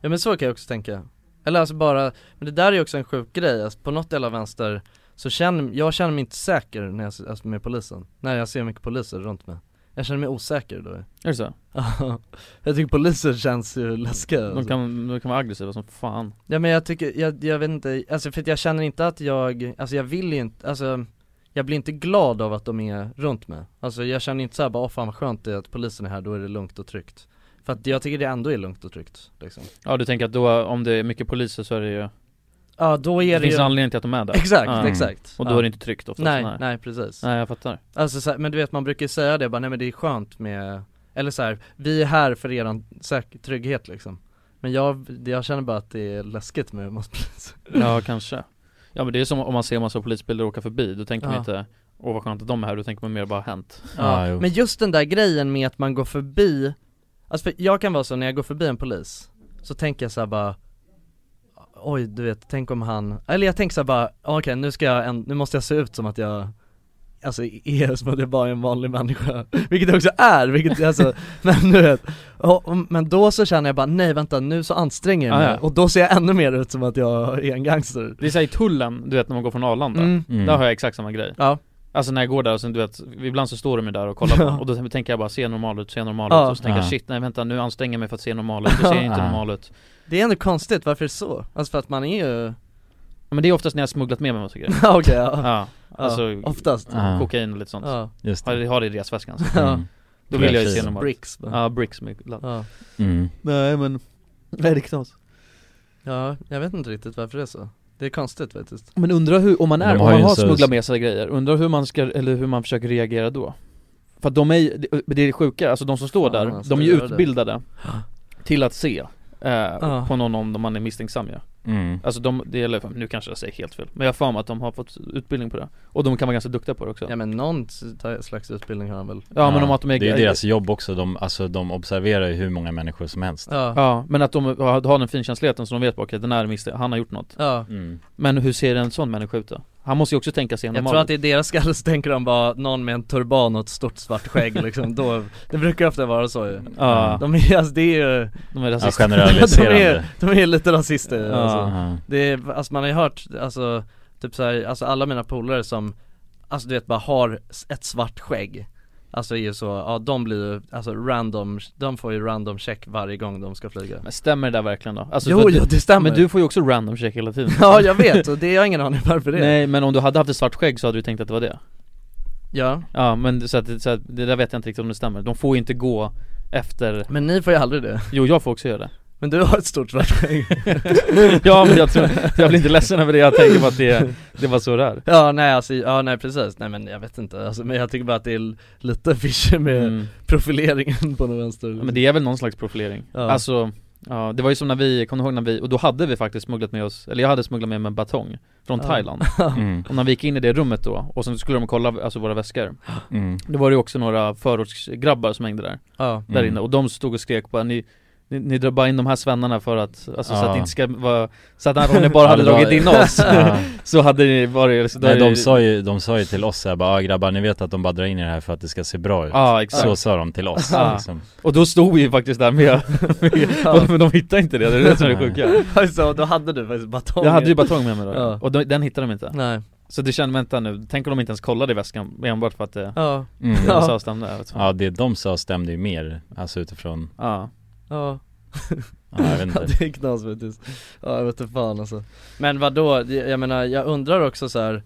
[SPEAKER 2] ja men så kan jag också tänka Eller alltså bara, men det där är också en sjuk grej, alltså på något jävla vänster så känner, jag känner mig inte säker när jag, alltså med polisen, när jag ser mycket poliser runt mig Jag känner mig osäker då
[SPEAKER 4] Är det så?
[SPEAKER 2] Ja, (laughs) jag tycker poliser känns ju läskiga
[SPEAKER 4] De
[SPEAKER 2] alltså.
[SPEAKER 4] kan, de kan vara aggressiva som fan
[SPEAKER 2] Ja men jag tycker, jag, jag vet inte, alltså för att jag känner inte att jag, alltså jag vill ju inte, alltså jag blir inte glad av att de är runt mig Alltså jag känner inte såhär bara, åh fan vad skönt det är att polisen är här, då är det lugnt och tryggt För att jag tycker det ändå är lugnt och tryggt liksom
[SPEAKER 4] Ja du tänker att då, om det är mycket poliser så är det ju,
[SPEAKER 2] Ja då är
[SPEAKER 4] det
[SPEAKER 2] det,
[SPEAKER 4] finns
[SPEAKER 2] ju...
[SPEAKER 4] en anledning till att de är där
[SPEAKER 2] Exakt,
[SPEAKER 4] Ja.
[SPEAKER 2] exakt
[SPEAKER 4] Och då
[SPEAKER 2] Ja.
[SPEAKER 4] är det inte tryggt oftast
[SPEAKER 2] Nej, nej, precis
[SPEAKER 4] Nej jag fattar
[SPEAKER 2] Alltså så här, men du vet man brukar ju säga det bara, nej men det är skönt med Eller så här, vi är här för eran säk- trygghet liksom Men jag, jag känner bara att det är läskigt med matpoliser
[SPEAKER 4] Ja kanske Ja men det är som om man ser massa polisbilar åka förbi, då tänker man
[SPEAKER 2] Ja.
[SPEAKER 4] inte Åh vad skönt att de är här, då tänker man mer bara hänt
[SPEAKER 1] Ja,
[SPEAKER 7] Ah,
[SPEAKER 2] Ja,
[SPEAKER 1] jo.
[SPEAKER 2] men just den där grejen med att man går förbi Alltså för jag kan vara så när jag går förbi en polis Så tänker jag så här bara Oj du vet, tänk om han Eller jag tänker så här bara, okej nu ska jag, en... nu måste jag se ut som att jag Alltså är som att jag bara är en vanlig människa Vilket jag också är, vilket alltså Men du vet och, och, Men då så känner jag bara, nej vänta nu så anstränger jag mig
[SPEAKER 4] Ja, ja.
[SPEAKER 2] Och då ser jag ännu mer ut som att jag är en gangster
[SPEAKER 4] Det är såhär i tullen, du vet när man går från Arlanda
[SPEAKER 2] Mm.
[SPEAKER 1] Mm.
[SPEAKER 4] Där har jag exakt samma grej
[SPEAKER 2] Ja.
[SPEAKER 4] Alltså när jag går där och sen du vet, ibland så står de ju där och kollar på en, och då tänker jag bara se normal ut, se normal ut
[SPEAKER 2] Ja.
[SPEAKER 4] och så tänker jag
[SPEAKER 1] Ja.
[SPEAKER 4] shit nej vänta nu anstränger jag mig för att se normal ut, det ser inte
[SPEAKER 1] Ja.
[SPEAKER 4] normal ut
[SPEAKER 2] Det är ändå konstigt, varför är det så? Alltså för att man är
[SPEAKER 8] uh,
[SPEAKER 2] ju,
[SPEAKER 4] ja, Men det är oftast när jag har smugglat med mig massa grejer
[SPEAKER 2] (laughs) ja okej ja,
[SPEAKER 4] Ja, alltså
[SPEAKER 2] ja, oftast
[SPEAKER 7] Ah,
[SPEAKER 1] Ja.
[SPEAKER 4] kokain och lite sånt
[SPEAKER 2] ja.
[SPEAKER 1] Just
[SPEAKER 4] Har,
[SPEAKER 1] det
[SPEAKER 4] har det i resväskan så.
[SPEAKER 2] (laughs) Ja.
[SPEAKER 1] Mm.
[SPEAKER 4] Då vill jag ju se
[SPEAKER 1] Precis.
[SPEAKER 4] normalt
[SPEAKER 2] Bricks bara.
[SPEAKER 4] Ja, bricks med ladd
[SPEAKER 2] ja.
[SPEAKER 1] Mm.
[SPEAKER 4] Nej men, nej det är knas
[SPEAKER 2] ja, jag vet inte riktigt varför det är så Det är konstigt faktiskt
[SPEAKER 4] Men undrar hur, om man
[SPEAKER 1] Men
[SPEAKER 4] är,
[SPEAKER 1] de
[SPEAKER 4] om
[SPEAKER 1] har ju
[SPEAKER 4] man
[SPEAKER 1] en
[SPEAKER 4] har
[SPEAKER 1] så-
[SPEAKER 4] smugglat med sig grejer, undrar hur man ska, eller hur man försöker reagera då? För att de är ju- det- det är sjuka, alltså de som står
[SPEAKER 2] Fan,
[SPEAKER 4] där,
[SPEAKER 2] alltså,
[SPEAKER 4] de är ju
[SPEAKER 2] gör det.
[SPEAKER 4] utbildade till att se eh,
[SPEAKER 2] Ja.
[SPEAKER 4] på någon om man är misstänksam ja.
[SPEAKER 1] Mm.
[SPEAKER 4] Alltså de, det gäller, nu kanske jag säger helt fel, men jag har för mig att de har fått utbildning på det Och de kan vara ganska duktiga på det också
[SPEAKER 2] Ja men någon s- slags utbildning har han väl?
[SPEAKER 4] Ja, men om att de är
[SPEAKER 1] Det är ju deras jobb också, de, alltså, de observerar ju hur många människor som helst
[SPEAKER 2] Ja, ja,
[SPEAKER 4] Ja, men att de har har den finkänsligheten som de vet bara okej, den här misstänk, han har gjort något
[SPEAKER 1] mm.
[SPEAKER 4] Men hur ser en sån människa ut då? Han måste ju också tänka sig
[SPEAKER 2] Jag
[SPEAKER 4] normal
[SPEAKER 2] tror att i deras skalle så tänker de bara någon med en turban och ett stort svart skägg liksom, då, det brukar ofta vara så ju
[SPEAKER 4] Ja,
[SPEAKER 2] De är, alltså det är ju,
[SPEAKER 4] de är
[SPEAKER 1] Ja,
[SPEAKER 4] rasister
[SPEAKER 2] de
[SPEAKER 4] (laughs)
[SPEAKER 1] generaliserande
[SPEAKER 2] är, de är lite rasister ju,
[SPEAKER 4] Ja.
[SPEAKER 2] alltså.
[SPEAKER 1] Ja.
[SPEAKER 2] Det är, alltså man har ju hört, alltså Typ såhär, alltså alla mina polare som, alltså du vet bara har s- ett svart skägg Alltså är ju så, ja de blir ju, alltså random, de får ju random check varje gång de ska flyga
[SPEAKER 4] Men stämmer det där verkligen då? Alltså,
[SPEAKER 2] Jo,
[SPEAKER 4] för att
[SPEAKER 2] jo,
[SPEAKER 4] du-
[SPEAKER 2] det stämmer.
[SPEAKER 4] Men du får ju också random check hela tiden
[SPEAKER 2] (laughs) Ja jag vet, och det, jag har ingen aning varför det är.
[SPEAKER 4] Nej men om du hade haft ett svart skägg så hade du tänkt att det var det
[SPEAKER 2] Ja
[SPEAKER 4] Ja men så att, så att det där vet jag inte riktigt om det stämmer, de får ju inte gå efter
[SPEAKER 2] Men ni får ju aldrig det
[SPEAKER 4] Jo jag får också göra det
[SPEAKER 2] Men du har ett stort svart skägg
[SPEAKER 4] (laughs) Ja men jag tror, jag blir inte ledsen över det, jag tänker på att det, det var så det är
[SPEAKER 2] Ja nej alltså, ja nej precis, nej men jag vet inte alltså, men jag tycker bara att det är l- lite fischer med profileringen på den vänster
[SPEAKER 4] Mm. Ja, Men det är väl någon slags profilering
[SPEAKER 2] Ja.
[SPEAKER 4] Alltså, ja, det var ju som när vi, kommer du ihåg när vi, och då hade vi faktiskt smugglat med oss, eller jag hade smugglat med mig en batong Från
[SPEAKER 2] Ja.
[SPEAKER 7] (laughs)
[SPEAKER 4] Thailand
[SPEAKER 7] Mm.
[SPEAKER 4] Och när vi gick in i det rummet då, och sen skulle de kolla alltså våra väskor
[SPEAKER 7] Mm.
[SPEAKER 4] Det var det ju också några förortsgrabbar som hängde där
[SPEAKER 2] Ja.
[SPEAKER 4] Där
[SPEAKER 7] Mm.
[SPEAKER 4] inne, och de stod och skrek bara ni ni, ni drar bara in de här svennarna för att, alltså så
[SPEAKER 7] Ja.
[SPEAKER 4] att det inte ska vara, så att
[SPEAKER 7] (laughs)
[SPEAKER 4] om ni bara
[SPEAKER 7] Ja,
[SPEAKER 4] hade
[SPEAKER 7] det var-
[SPEAKER 4] dragit in oss
[SPEAKER 7] (laughs) Ja.
[SPEAKER 4] (laughs) Så hade det varit, så
[SPEAKER 7] Nej,
[SPEAKER 4] då är
[SPEAKER 7] de
[SPEAKER 4] det-
[SPEAKER 7] sa ju, de sa ju till oss såhär bara, ah, grabbar ni vet att de bara drar in er här för att det ska se bra ut
[SPEAKER 4] Ja, exakt.
[SPEAKER 7] Så sa de till oss
[SPEAKER 4] Ja.
[SPEAKER 7] liksom.
[SPEAKER 4] Och då stod vi ju faktiskt där med,
[SPEAKER 2] (laughs) Ja.
[SPEAKER 4] men de hittade inte det, det är det som är det sjuka
[SPEAKER 2] (laughs) Alltså då hade du faktiskt batong
[SPEAKER 4] Jag hade ju batong med mig då,
[SPEAKER 2] Ja.
[SPEAKER 4] och de, den hittade de inte
[SPEAKER 2] Nej.
[SPEAKER 4] Så det kände, vänta nu, tänk om de inte ens kollade i väskan enbart för att det,
[SPEAKER 2] (laughs) Ja.
[SPEAKER 4] det
[SPEAKER 7] Mm.
[SPEAKER 4] var så stämde jag vet inte.
[SPEAKER 7] Ja det de sa stämde ju mer, alltså utifrån,
[SPEAKER 4] Ja,
[SPEAKER 2] Ja
[SPEAKER 7] ja, jag
[SPEAKER 4] (laughs)
[SPEAKER 7] vet
[SPEAKER 2] Ja
[SPEAKER 7] inte
[SPEAKER 2] det är knas faktiskt, ja jag vet inte fan alltså Men vadå, Det- jag menar jag undrar också så här.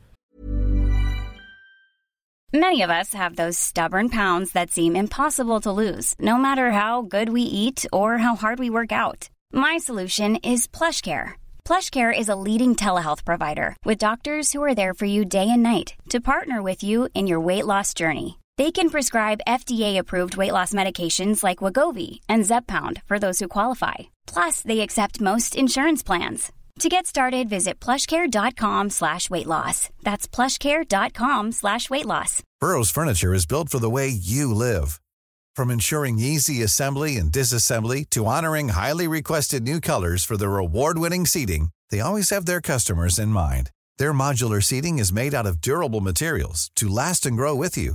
[SPEAKER 9] Many of us have those stubborn pounds that seem impossible to lose, no matter how good we eat or how hard we work out. My solution is PlushCare. PlushCare is a leading telehealth provider with doctors who are there for you day and night to partner with you in your weight loss journey. They can prescribe FDA-approved weight loss medications like Wagovi and Zepbound for those who qualify. Plus, they accept most insurance plans. To get started, visit plushcare.com slash weight loss. That's plushcare.com slash weight loss.
[SPEAKER 10] Burrow's furniture is built for the way you live. From ensuring easy assembly and disassembly to honoring highly requested new colors for their award-winning seating, they always have their customers in mind. Their modular seating is made out of durable materials to last and grow with you.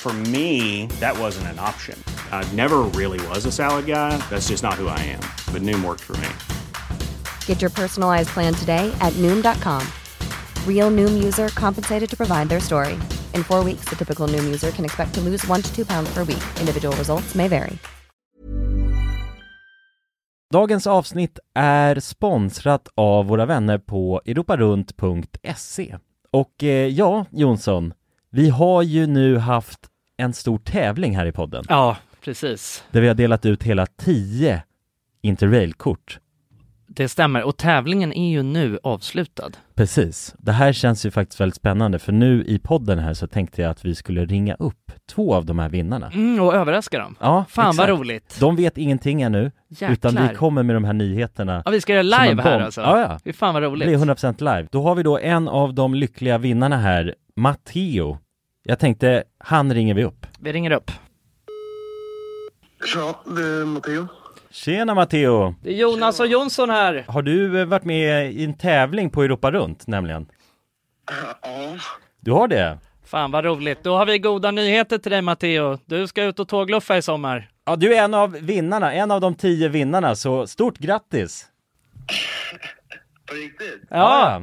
[SPEAKER 11] For me, that wasn't an option. I never really was a salad guy. That's just not who I am. But Noom worked for me.
[SPEAKER 12] Get your personalized plan today at Noom.com. Real Noom user compensated to provide their story. In four weeks, the typical Noom user can expect to lose one to two pounds per week. Individual results may vary.
[SPEAKER 7] Dagens avsnitt är sponsrat av våra vänner på europarunt.se Och eh, ja, Jonsson, vi har ju nu haft en stor tävling här i podden
[SPEAKER 13] Ja, precis.
[SPEAKER 7] Där vi har delat ut hela 10 interrailkort
[SPEAKER 13] Det stämmer. Och tävlingen är ju nu avslutad.
[SPEAKER 7] Precis. Det här känns ju faktiskt väldigt spännande för nu i podden här så tänkte jag att vi skulle ringa upp två av de här vinnarna.
[SPEAKER 13] Mm, och överraska dem.
[SPEAKER 7] Ja,
[SPEAKER 13] Fan
[SPEAKER 7] exakt.
[SPEAKER 13] vad roligt.
[SPEAKER 7] De vet ingenting ännu,
[SPEAKER 13] Jäklar.
[SPEAKER 7] utan vi kommer med de här nyheterna.
[SPEAKER 13] Ja, vi ska göra
[SPEAKER 7] som en
[SPEAKER 13] live här
[SPEAKER 7] bomb.
[SPEAKER 13] alltså.
[SPEAKER 7] Ja, ja.
[SPEAKER 13] Fy fan vad
[SPEAKER 7] Det
[SPEAKER 13] roligt.
[SPEAKER 7] blir 100% live. Då har vi då en av de lyckliga vinnarna här, Matteo. Jag tänkte, han ringer vi upp.
[SPEAKER 13] Vi ringer upp.
[SPEAKER 14] Ja, det är Matteo.
[SPEAKER 7] Tjena Matteo!
[SPEAKER 13] Det är Jonas och Jonsson här.
[SPEAKER 7] Har du eh, varit med i en tävling på Europa runt nämligen?
[SPEAKER 14] Ja.
[SPEAKER 7] Du har det?
[SPEAKER 13] Fan vad roligt. Då har vi goda nyheter till dig Matteo. Du ska ut och tågluffa i sommar.
[SPEAKER 7] Ja, du är en av vinnarna, en av de tio vinnarna, så stort grattis! Ja.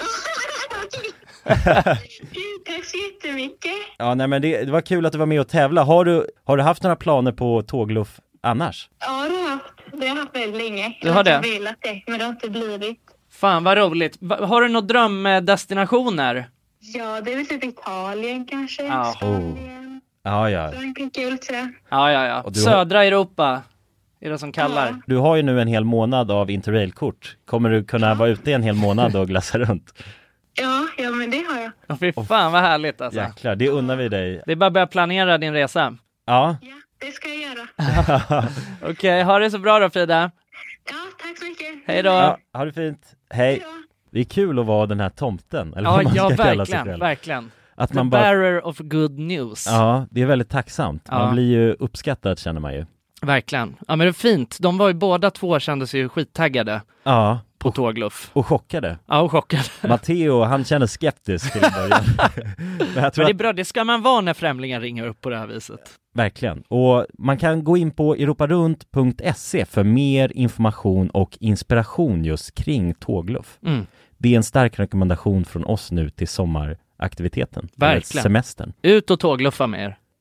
[SPEAKER 14] Gud, Tack så jättemycket.
[SPEAKER 7] Ja, nej men det, det var kul att du var med och tävla. Har du, har du haft några planer på tågluff annars?
[SPEAKER 14] Ja, det har jag haft. Det har jag haft väldigt länge.
[SPEAKER 2] Du har det?
[SPEAKER 14] Jag har velat det, men det har inte blivit.
[SPEAKER 2] Fan vad roligt. Va- har du några drömdestinationer?
[SPEAKER 14] Ja, det är väl typ Italien kanske.
[SPEAKER 2] Ja.
[SPEAKER 7] Oh. Ja, ja.
[SPEAKER 14] Frankrike, vill säga.
[SPEAKER 2] Ja, ja, ja.
[SPEAKER 7] Och du har-
[SPEAKER 2] Södra Europa är det som kallar.
[SPEAKER 7] Du har ju nu en hel månad av interrailkort. Kommer du kunna vara ute en hel månad och glassa runt?
[SPEAKER 14] Ja, ja, men det har jag.
[SPEAKER 2] Åh, fy fan vad härligt alltså.
[SPEAKER 7] Jäklar, det unnar vi dig.
[SPEAKER 2] Det är bara att börja planera din resa.
[SPEAKER 7] Ja.
[SPEAKER 14] Det ska jag göra.
[SPEAKER 2] Okej, ha det så bra då Frida.
[SPEAKER 14] Ja, tack så mycket.
[SPEAKER 2] Hej då.
[SPEAKER 7] Ja, ha det fint. Hej. Det är kul att vara den här tomten, eller
[SPEAKER 2] Ja,
[SPEAKER 7] vad man
[SPEAKER 2] ja
[SPEAKER 7] ska kalla sig
[SPEAKER 2] verkligen,
[SPEAKER 7] själv.
[SPEAKER 2] verkligen.
[SPEAKER 7] Att
[SPEAKER 2] The
[SPEAKER 7] man bara-
[SPEAKER 2] bearer of good news.
[SPEAKER 7] Ja, det är väldigt tacksamt.
[SPEAKER 2] Ja.
[SPEAKER 7] Man blir ju uppskattad känner man ju.
[SPEAKER 2] Verkligen. Ja men det är fint. De var ju båda två kändes ju skittaggade.
[SPEAKER 7] Ja.
[SPEAKER 2] På tågluff.
[SPEAKER 7] Och chockade.
[SPEAKER 2] Ja, och
[SPEAKER 7] (laughs)
[SPEAKER 2] chockade.
[SPEAKER 7] Matteo, han känner skeptisk till en
[SPEAKER 2] (laughs)
[SPEAKER 7] början. Men jag tror
[SPEAKER 2] Men det är
[SPEAKER 7] att,
[SPEAKER 2] bra, det ska man vara när främlingar ringer upp på det här viset.
[SPEAKER 7] verkligen. Och man kan gå in på europarunt.se för mer information och inspiration just kring tågluff.
[SPEAKER 2] Mm.
[SPEAKER 7] Det är en stark rekommendation från oss nu till sommaraktiviteten. eller
[SPEAKER 2] Verkligen.
[SPEAKER 7] Semestern.
[SPEAKER 2] Ut och tågluffa med er.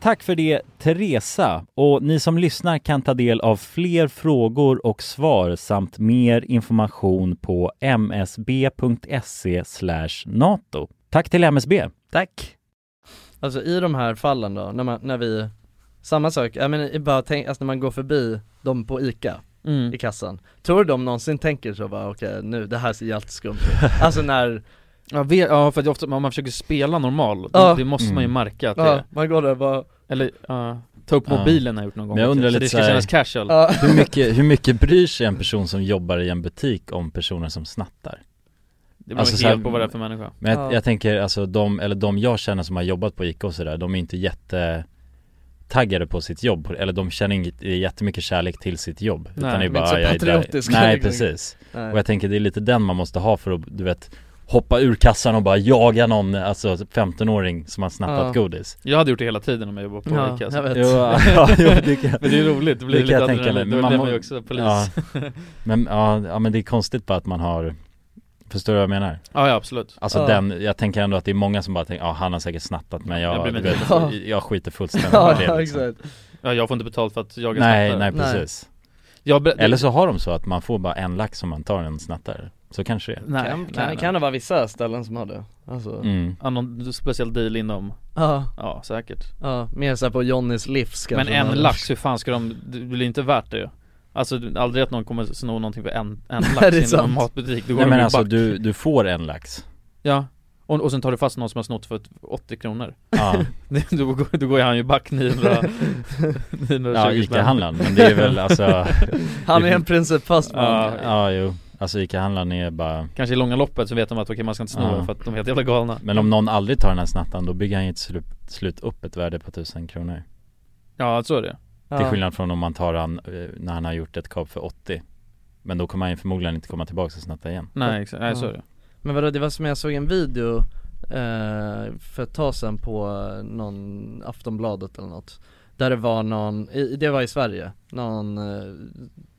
[SPEAKER 7] Tack för det Teresa och ni som lyssnar kan ta del av fler frågor och svar samt mer information på msb.se E NATO. Tack till MSB.
[SPEAKER 1] Tack! Alltså i de här fallen då, när, man, när vi, samma sak, jag menar i- bara tänk, alltså när man går förbi dem på ICA
[SPEAKER 4] Mm.
[SPEAKER 1] i kassan, tror du de någonsin tänker så bara okej nu, det här ser jätteskumt ut? (laughs) Alltså när
[SPEAKER 4] Ja, vi, ja för att ofta, om man försöker spela normal,
[SPEAKER 1] Ja.
[SPEAKER 4] det måste man ju
[SPEAKER 1] Mm.
[SPEAKER 4] märka att
[SPEAKER 1] Ja,
[SPEAKER 4] det
[SPEAKER 1] man går där och bara
[SPEAKER 4] Eller, ja Ta upp mobilen har jag gjort någon gång
[SPEAKER 1] Men jag
[SPEAKER 4] också,
[SPEAKER 1] undrar
[SPEAKER 4] så
[SPEAKER 1] lite
[SPEAKER 4] det ska
[SPEAKER 1] så här,
[SPEAKER 4] kännas casual.
[SPEAKER 1] hur, mycket, hur mycket bryr sig en person som jobbar i en butik om personer som snattar?
[SPEAKER 4] Det beror helt
[SPEAKER 1] Alltså så
[SPEAKER 4] på vad det är för människa.
[SPEAKER 1] Men jag,
[SPEAKER 4] Ja.
[SPEAKER 1] jag tänker alltså de, eller de jag känner som har jobbat på ICA och sådär, de är inte jätte taggade på sitt jobb, eller de känner inget, eh, jättemycket kärlek till sitt jobb
[SPEAKER 4] Nej,
[SPEAKER 1] Utan det är
[SPEAKER 4] men
[SPEAKER 1] bara,
[SPEAKER 4] inte så
[SPEAKER 1] "Ah, jag är där."
[SPEAKER 4] patriotisk.
[SPEAKER 1] Nej precis,
[SPEAKER 4] Nej.
[SPEAKER 1] och jag tänker det är lite den man måste ha för att, du vet Hoppa ur kassan och bara jaga någon, alltså 15-åring som har snattat
[SPEAKER 4] Ja.
[SPEAKER 1] godis
[SPEAKER 4] Jag hade gjort det hela tiden om jag jobbade på
[SPEAKER 1] Ja,
[SPEAKER 4] ICA
[SPEAKER 1] jag vet. Jo, ja, (laughs) jo, det kan-
[SPEAKER 4] Men det är roligt, det blir
[SPEAKER 1] det kan
[SPEAKER 4] lite
[SPEAKER 1] jag tänka mig,
[SPEAKER 4] adrenalin,
[SPEAKER 1] men
[SPEAKER 4] då
[SPEAKER 1] man
[SPEAKER 4] blir
[SPEAKER 1] må-
[SPEAKER 4] man ju också polis
[SPEAKER 1] ja.
[SPEAKER 4] (laughs) ja.
[SPEAKER 1] Men ja, ja, men det är konstigt bara att man har Förstår du vad jag menar?
[SPEAKER 4] Ja, ja, absolut.
[SPEAKER 1] Alltså
[SPEAKER 4] Ja.
[SPEAKER 1] den, jag tänker ändå att det är många som bara tänker, ja han har säkert snattat men jag,
[SPEAKER 4] Jag bryr mig
[SPEAKER 1] du
[SPEAKER 4] inte.
[SPEAKER 1] vet,
[SPEAKER 4] Ja.
[SPEAKER 1] jag
[SPEAKER 4] (laughs)
[SPEAKER 1] skiter fullständigt på det liksom.
[SPEAKER 4] Ja, jag får inte betalt för att jag är
[SPEAKER 1] Nej,
[SPEAKER 4] snattare.
[SPEAKER 1] nej precis
[SPEAKER 4] Jag ber-
[SPEAKER 1] Eller så har de så att man får bara en lax om man tar en snattare Så kanske det är
[SPEAKER 4] Nej,
[SPEAKER 2] kan,
[SPEAKER 4] nej,
[SPEAKER 2] kan,
[SPEAKER 4] nej.
[SPEAKER 2] kan det vara vissa ställen som har det? Alltså
[SPEAKER 1] Mm.
[SPEAKER 4] Ja, någon speciell deal inom
[SPEAKER 2] Ja.
[SPEAKER 4] Ja, säkert
[SPEAKER 2] Ja, mer såhär på Johnnys livs kanske
[SPEAKER 4] Men en lax, hur fan ska de, det blir inte värt det ju Alltså du- aldrig att någon kommer sno någonting för en,
[SPEAKER 2] (laughs) Nej,
[SPEAKER 4] en
[SPEAKER 2] det är
[SPEAKER 4] lax i en
[SPEAKER 2] sant.
[SPEAKER 4] matbutik, då går
[SPEAKER 1] Nej
[SPEAKER 4] de
[SPEAKER 1] men
[SPEAKER 4] ju
[SPEAKER 1] alltså
[SPEAKER 4] back.
[SPEAKER 1] du, du får
[SPEAKER 4] (laughs)
[SPEAKER 1] en lax
[SPEAKER 4] Ja, och, och sen tar du fast någon som har snott för 80 kronor (laughs)
[SPEAKER 1] Ja.
[SPEAKER 4] Det- då, går, då går han ju
[SPEAKER 2] (laughs)
[SPEAKER 4] back 900 920
[SPEAKER 1] Ja,
[SPEAKER 4] spänn.
[SPEAKER 1] ICA-handlaren, men det är
[SPEAKER 4] (laughs)
[SPEAKER 1] väl alltså
[SPEAKER 2] Han är en principfast man.
[SPEAKER 1] Ja, ja jo, alltså ICA-handlaren är bara
[SPEAKER 4] Kanske i långa loppet så vet de att okej man ska inte sno
[SPEAKER 1] Ja.
[SPEAKER 4] för att de är helt jävla galna
[SPEAKER 1] Men om någon aldrig tar den här snattaren då bygger han ju till slut, slut upp ett värde på tusen kronor
[SPEAKER 4] Ja, så är det
[SPEAKER 1] Till skillnad från om man tar han eh, när han har gjort ett kap för 80 Men då kommer han ju förmodligen inte komma tillbaka och snatta igen
[SPEAKER 2] Ja. Men vadå, det var som jag såg en video eh, för ett tag sedan på någon Aftonbladet eller något Där det var någon, i, det var i Sverige, någon, eh,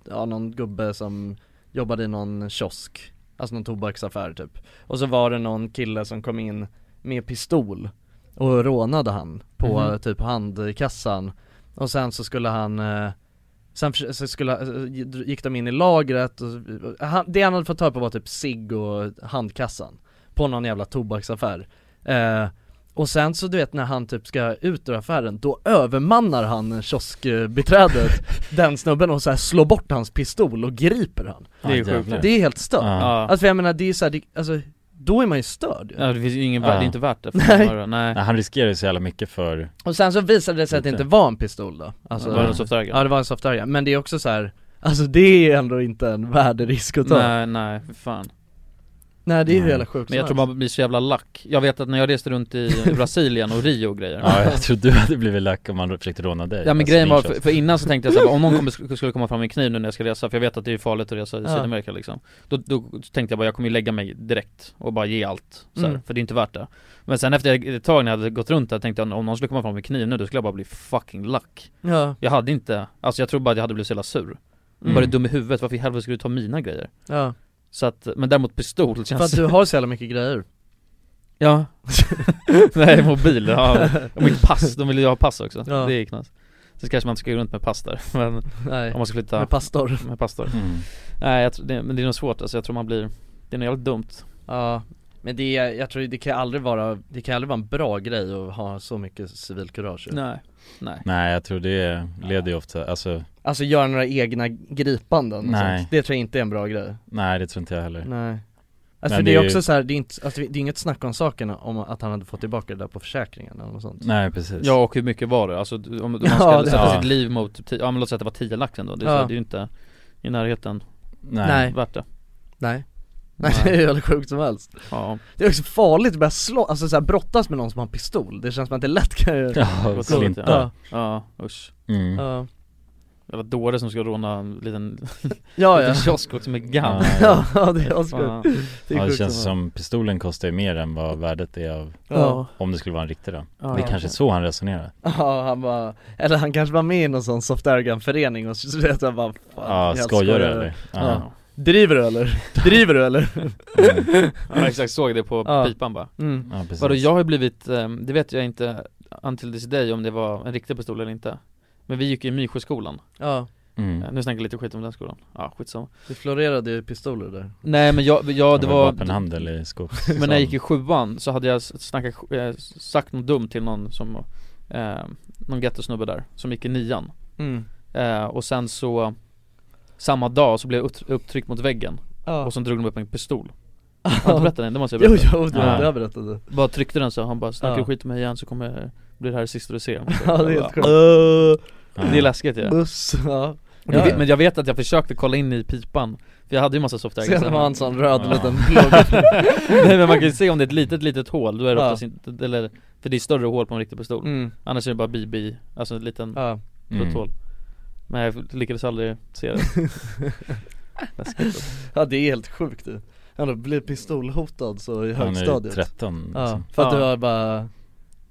[SPEAKER 2] ja någon gubbe som jobbade i någon kiosk Alltså någon tobaksaffär typ Och så var det någon kille som kom in med pistol och rånade han på
[SPEAKER 4] Mhm.
[SPEAKER 2] eh, typ handkassan Och sen så skulle han eh, Sen förs- så skulle, eh, gick de in i lagret och, och han, det han hade fått tag på var typ cigg och handkassan På någon jävla tobaksaffär eh, Och sen så du vet när han typ ska ut ur affären, då övermannar han (laughs) kioskbiträdet Den snubben och så här slår bort hans pistol och griper han
[SPEAKER 4] Det är ju sjukt.
[SPEAKER 2] Det är helt stört,
[SPEAKER 4] Ja.
[SPEAKER 2] alltså för jag menar det är så här, det, alltså då är man ju störd ju.
[SPEAKER 4] Ja det finns ju ingen
[SPEAKER 1] Ja.
[SPEAKER 4] värde, det är inte värt det för
[SPEAKER 2] (laughs) Nej.
[SPEAKER 4] de här- nej.
[SPEAKER 1] Nej, han riskerar ju så jävla mycket för
[SPEAKER 2] Och sen så visade det sig att det
[SPEAKER 1] Lite.
[SPEAKER 2] inte var en pistol då Alltså,
[SPEAKER 4] Var det en soft target?
[SPEAKER 2] Ja det var en soft target, men det är också så här. Alltså det är ändå inte en värderisk att ta Nej,
[SPEAKER 4] Nej, nej, för fan
[SPEAKER 2] det är ju hela sjukt
[SPEAKER 4] Men jag
[SPEAKER 2] som
[SPEAKER 4] tror
[SPEAKER 2] helst.
[SPEAKER 4] man blir så jävla lack Jag vet att när jag reste
[SPEAKER 2] (laughs)
[SPEAKER 4] runt i Brasilien och Rio och grejer
[SPEAKER 1] Ja jag tror du hade blivit lack om han försökte råna dig
[SPEAKER 4] Ja men
[SPEAKER 1] Alltså,
[SPEAKER 4] grejen
[SPEAKER 1] din
[SPEAKER 4] var,
[SPEAKER 1] kiosk.
[SPEAKER 4] för, för innan så tänkte jag såhär,
[SPEAKER 2] (laughs)
[SPEAKER 4] om någon kommer, sk- skulle komma fram med en kniv nu när jag ska resa, för jag vet att det är farligt att resa i
[SPEAKER 1] Ja.
[SPEAKER 4] Sydamerika liksom då, då tänkte jag bara, jag kommer ju lägga mig direkt och bara ge allt, så här,
[SPEAKER 1] Mm.
[SPEAKER 4] för det är inte värt det Men sen efter ett tag när jag hade gått runt där tänkte jag, om någon skulle komma fram med en kniv nu, då skulle jag bara bli fucking lack
[SPEAKER 2] Ja.
[SPEAKER 4] Jag hade inte, alltså jag tror bara att jag hade blivit så jävla sur
[SPEAKER 2] Mm.
[SPEAKER 4] Var du dum i huvudet, varför i helvete skulle du ta mina grejer?
[SPEAKER 2] Ja.
[SPEAKER 4] Så att, men däremot pistol känns
[SPEAKER 2] För att du har så jävla mycket grejer (laughs)
[SPEAKER 4] Ja Nej, mobil, ja, och mitt pass, de vill ju ha pass också,
[SPEAKER 2] Ja.
[SPEAKER 4] det är knas Sen kanske man inte ska gå runt med pass där, (laughs) men
[SPEAKER 2] (laughs) Nej,
[SPEAKER 4] om man ska flytta
[SPEAKER 2] med pastor.
[SPEAKER 4] Med pastor
[SPEAKER 1] Mm.
[SPEAKER 4] Nej jag tror, det, men det är nog svårt alltså, jag tror man blir, det är nog jävligt dumt
[SPEAKER 2] Ja, men det är, jag tror det kan aldrig vara, det kan aldrig vara en bra grej att ha så mycket civilkurage
[SPEAKER 4] Nej, nej
[SPEAKER 1] Nej jag tror det leder ju ofta, alltså
[SPEAKER 2] Alltså göra några egna gripanden och
[SPEAKER 1] Nej.
[SPEAKER 2] sånt. det tror jag inte är en bra grej
[SPEAKER 1] Nej det tror inte jag heller
[SPEAKER 2] Nej Alltså
[SPEAKER 1] Men
[SPEAKER 2] för det är
[SPEAKER 1] ju-
[SPEAKER 2] också så här, det är, inte, alltså, det är inget snack om saken om att han hade fått tillbaka det där på försäkringen eller något sånt
[SPEAKER 1] Nej, precis.
[SPEAKER 4] Ja och hur mycket var det? Alltså om, om man
[SPEAKER 2] (laughs) Ja,
[SPEAKER 4] ska
[SPEAKER 2] det-
[SPEAKER 4] sätta
[SPEAKER 2] ja.
[SPEAKER 4] sitt liv mot, ti- ja men låt säga att det var 10 lax ändå, det är,
[SPEAKER 2] Ja.
[SPEAKER 4] så, det är ju inte i närheten
[SPEAKER 1] Nej.
[SPEAKER 2] Nej.
[SPEAKER 4] värt det
[SPEAKER 2] Nej (laughs) Nej det är ju hur sjukt som helst
[SPEAKER 4] Ja.
[SPEAKER 2] Det är också farligt att börja slå, alltså så här, brottas med någon som har en pistol, det känns som att det lätt kan
[SPEAKER 1] (laughs)
[SPEAKER 2] ju
[SPEAKER 4] Gå
[SPEAKER 2] Gå
[SPEAKER 4] till-
[SPEAKER 2] till-
[SPEAKER 4] Ja, ja usch
[SPEAKER 1] Mm.
[SPEAKER 2] Ja.
[SPEAKER 4] Jävla dåre som ska råna en liten,
[SPEAKER 2] (laughs) Ja,
[SPEAKER 4] (laughs) liten
[SPEAKER 2] ja.
[SPEAKER 4] kiosk också med GAM
[SPEAKER 2] (laughs) Ja, ja, det är
[SPEAKER 4] Fan.
[SPEAKER 2] assjukt. Det är
[SPEAKER 1] ja, det
[SPEAKER 2] sjukt
[SPEAKER 1] känns
[SPEAKER 2] som
[SPEAKER 1] som pistolen kostar ju mer än vad värdet är av
[SPEAKER 2] Ja.
[SPEAKER 1] Om det skulle vara en riktig då
[SPEAKER 2] Ja,
[SPEAKER 1] Det är
[SPEAKER 2] ja.
[SPEAKER 1] kanske är så han resonerar
[SPEAKER 2] Ja han bara, eller han kanske var med i någon sån soft airgun förening och så vet han bara fan,
[SPEAKER 1] Ja,
[SPEAKER 2] jag
[SPEAKER 1] skojar du eller?
[SPEAKER 2] Ja.
[SPEAKER 1] Ja. Mm.
[SPEAKER 2] Driver du eller? Driver du eller?
[SPEAKER 4] Mm.
[SPEAKER 2] (laughs)
[SPEAKER 4] Ja exakt, såg det på
[SPEAKER 2] Ja.
[SPEAKER 4] pipan bara
[SPEAKER 2] Mm.
[SPEAKER 1] Ja, precis.
[SPEAKER 4] Vadå, jag har ju blivit, ehm, det vet jag inte until this day om det var en riktig pistol eller inte Men vi gick ju i Mysjöskolan
[SPEAKER 2] Ja.
[SPEAKER 1] Mm.
[SPEAKER 4] Eh, Nu snackar jag lite skit om den skolan, ja skitsamma
[SPEAKER 2] Det florerade ju pistoler där
[SPEAKER 4] Nej men jag, jag det
[SPEAKER 1] Det var
[SPEAKER 4] var
[SPEAKER 1] vapenhandel
[SPEAKER 2] (laughs)
[SPEAKER 1] i skogs-
[SPEAKER 4] Men när
[SPEAKER 2] Liksom.
[SPEAKER 4] jag gick i sjuan så hade jag s- snackat, eh, sagt något dumt till någon som, eh, någon gettosnubbe där, som gick i nian
[SPEAKER 2] Mm.
[SPEAKER 4] eh, Och sen så, samma dag så blev jag ut- upptryckt mot väggen
[SPEAKER 2] Ja.
[SPEAKER 4] Och sen drog de upp
[SPEAKER 2] (laughs)
[SPEAKER 4] en pistol Har jag inte berättat den? Det måste jag
[SPEAKER 2] Jo,
[SPEAKER 4] berätta
[SPEAKER 2] jo, det- det har jag berättat.
[SPEAKER 4] Bara tryckte den så, han bara 'snackar du
[SPEAKER 2] Ja.
[SPEAKER 4] skit med mig igen så kommer blir det här det sista du ser?
[SPEAKER 2] (laughs) Ja, det är helt sjukt.
[SPEAKER 4] Uh, Det är läskigt ju
[SPEAKER 2] Buss, ja.
[SPEAKER 4] Och det-
[SPEAKER 2] Ja, ja.
[SPEAKER 4] Men jag vet att jag försökte kolla in i pipan För jag hade ju massa soft
[SPEAKER 2] Sen var han sån röd liten
[SPEAKER 4] Mm. blå (laughs) Nej men man kan ju se om det är ett litet litet hål, då är det
[SPEAKER 2] Ja.
[SPEAKER 4] oftast inte, eller För det är större hål på en riktig pistol
[SPEAKER 2] Mm.
[SPEAKER 4] Annars är det bara BB, alltså en liten
[SPEAKER 2] Ja.
[SPEAKER 4] mm.
[SPEAKER 2] Mm.
[SPEAKER 4] hål Men jag lyckades aldrig se det Läskigt alltså.
[SPEAKER 2] Ja det är helt sjukt du Han blir pistolhotad så i
[SPEAKER 4] Han är ju
[SPEAKER 2] högstadiet
[SPEAKER 4] 13,
[SPEAKER 2] (laughs) Ja,
[SPEAKER 4] liksom.
[SPEAKER 2] för att
[SPEAKER 4] Ja.
[SPEAKER 2] du har bara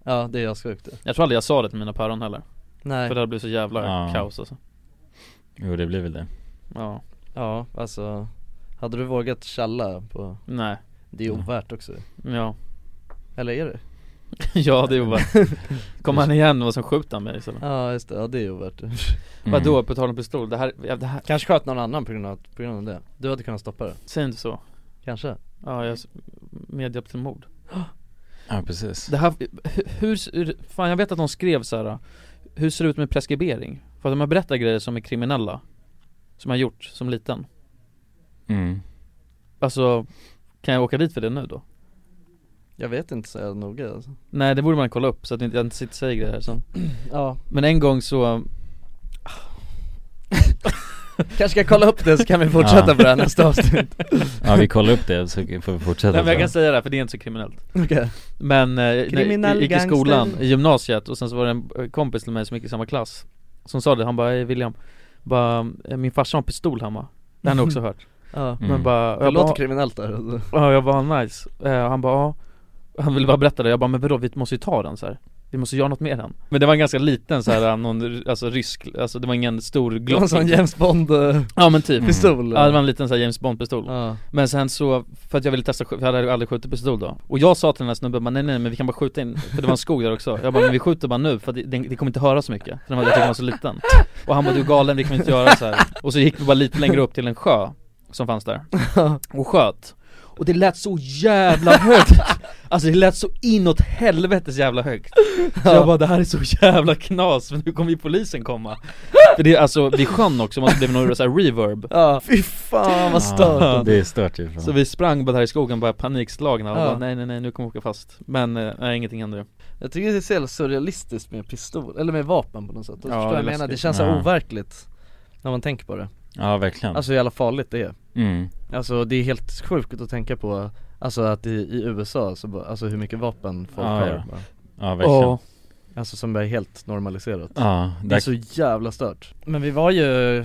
[SPEAKER 2] Ja det är assjukt det
[SPEAKER 4] Jag tror aldrig jag sa det till mina päron heller
[SPEAKER 2] Nej.
[SPEAKER 4] För det hade blivit så jävla
[SPEAKER 1] Ja.
[SPEAKER 4] kaos alltså
[SPEAKER 1] Jo det blir väl det
[SPEAKER 4] Ja
[SPEAKER 2] Ja alltså Hade du vågat tjalla på
[SPEAKER 4] Nej
[SPEAKER 2] Det är ovärt också
[SPEAKER 4] Ja
[SPEAKER 2] Eller är det?
[SPEAKER 4] (laughs) Ja det är ovärt
[SPEAKER 2] (laughs)
[SPEAKER 4] Kommer han igen och sen skjuter han mig istället
[SPEAKER 2] Ja just det, ja det är ovärt mm.
[SPEAKER 4] Vadå på tal om pistol? Det här, ja, det här
[SPEAKER 2] Kanske sköt någon annan på grund, av, på grund av det Du hade kunnat stoppa det
[SPEAKER 4] Säg inte så
[SPEAKER 2] Kanske
[SPEAKER 4] Ja jag s- medhjälp till mord
[SPEAKER 1] Ja precis
[SPEAKER 4] Det här, hur- hur, fan jag vet att de skrev så här. Hur ser det ut med preskribering? För att de har berättat grejer som är kriminella Som jag gjort som liten
[SPEAKER 1] Mm.
[SPEAKER 4] Alltså, kan jag åka dit för det nu då?
[SPEAKER 2] Jag vet inte så jävla noga alltså.
[SPEAKER 4] Nej det borde man kolla upp så att jag inte- jag inte sitter och säger grejer här sen
[SPEAKER 2] Ja.
[SPEAKER 4] Men en gång så
[SPEAKER 2] Kanske ska kolla upp det så kan vi fortsätta på det här nästa avsnitt
[SPEAKER 1] (laughs) Ja vi kollar upp det så får vi fortsätta
[SPEAKER 4] Nej men jag
[SPEAKER 1] så.
[SPEAKER 4] kan säga det här, för det är inte så kriminellt
[SPEAKER 2] Okej.
[SPEAKER 4] Men eh, när
[SPEAKER 2] Kriminell
[SPEAKER 4] jag gick i
[SPEAKER 2] gangster.
[SPEAKER 4] skolan, i gymnasiet och sen så var det en eh, kompis till mig som gick i samma klass Som sa det, han bara "Hej, William bara, eh, min farsa har en pistol hemma Det har
[SPEAKER 2] (laughs)
[SPEAKER 4] han också hört
[SPEAKER 2] Ja.
[SPEAKER 1] Mm.
[SPEAKER 4] Men bara,
[SPEAKER 2] Det
[SPEAKER 4] jag
[SPEAKER 2] låter
[SPEAKER 4] bara,
[SPEAKER 2] kriminellt där alltså.
[SPEAKER 4] Ja jag bara nice, Eh, och han bara "Ja." Han ville bara berätta det, jag bara men vadå vi måste ju ta den så här. Vi måste göra något med den Men det var en ganska liten så här, någon, alltså rysk, alltså det var ingen stor
[SPEAKER 2] Det var
[SPEAKER 4] glock
[SPEAKER 2] en sån James Bond eh,
[SPEAKER 4] Ja men typ
[SPEAKER 2] Pistol
[SPEAKER 4] Ja det var en liten sån här James Bond pistol
[SPEAKER 2] Ja.
[SPEAKER 4] Men sen så, för att jag ville testa, sk- för jag hade aldrig skjutit pistol då Och jag sa till den här snubben bara, nej nej men vi kan bara skjuta in, för det var en skog där också Jag bara men vi skjuter bara nu för att det, det, det kommer inte höra så mycket För den var, jag tyckte den var så liten Och han bara du är galen, vi kan inte göra så här. Och så gick vi bara lite längre upp till en sjö som fanns där Och sköt Och det lät så jävla (laughs) högt Alltså det lät så inåt helvetes jävla högt Så jag bara det här är så jävla knas, men nu kommer ju polisen komma För det är alltså vid sjön också, man blev någon så här reverb
[SPEAKER 2] Ja, fy fan vad stört
[SPEAKER 1] Ja, det typ är stört ju fan.
[SPEAKER 4] Så vi sprang bara där i skogen, bara panikslagna och
[SPEAKER 2] Ja.
[SPEAKER 4] bara, nej nej nej nu kommer vi åka fast Men eh, nej, ingenting hände
[SPEAKER 2] Jag tycker det är så jävla surrealistiskt med pistol, eller med vapen på något sätt, alltså,
[SPEAKER 4] Ja,
[SPEAKER 2] förstår vad
[SPEAKER 4] det är
[SPEAKER 2] jag menar? Det
[SPEAKER 4] läskigt.
[SPEAKER 2] känns så
[SPEAKER 4] Ja.
[SPEAKER 2] overkligt när man tänker på det
[SPEAKER 1] Ja verkligen
[SPEAKER 2] Alltså hur jävla farligt det är
[SPEAKER 1] Mm.
[SPEAKER 2] Alltså det är helt sjukt att tänka på, alltså att i, i USA, så, bara- alltså hur mycket vapen folk
[SPEAKER 1] Ja,
[SPEAKER 2] har
[SPEAKER 1] ja.
[SPEAKER 2] bara.
[SPEAKER 1] Ja, verkligen. Ja.
[SPEAKER 2] Alltså som är helt normaliserat
[SPEAKER 1] Ja,
[SPEAKER 2] Det är
[SPEAKER 1] där-
[SPEAKER 2] så jävla stört Men vi var ju,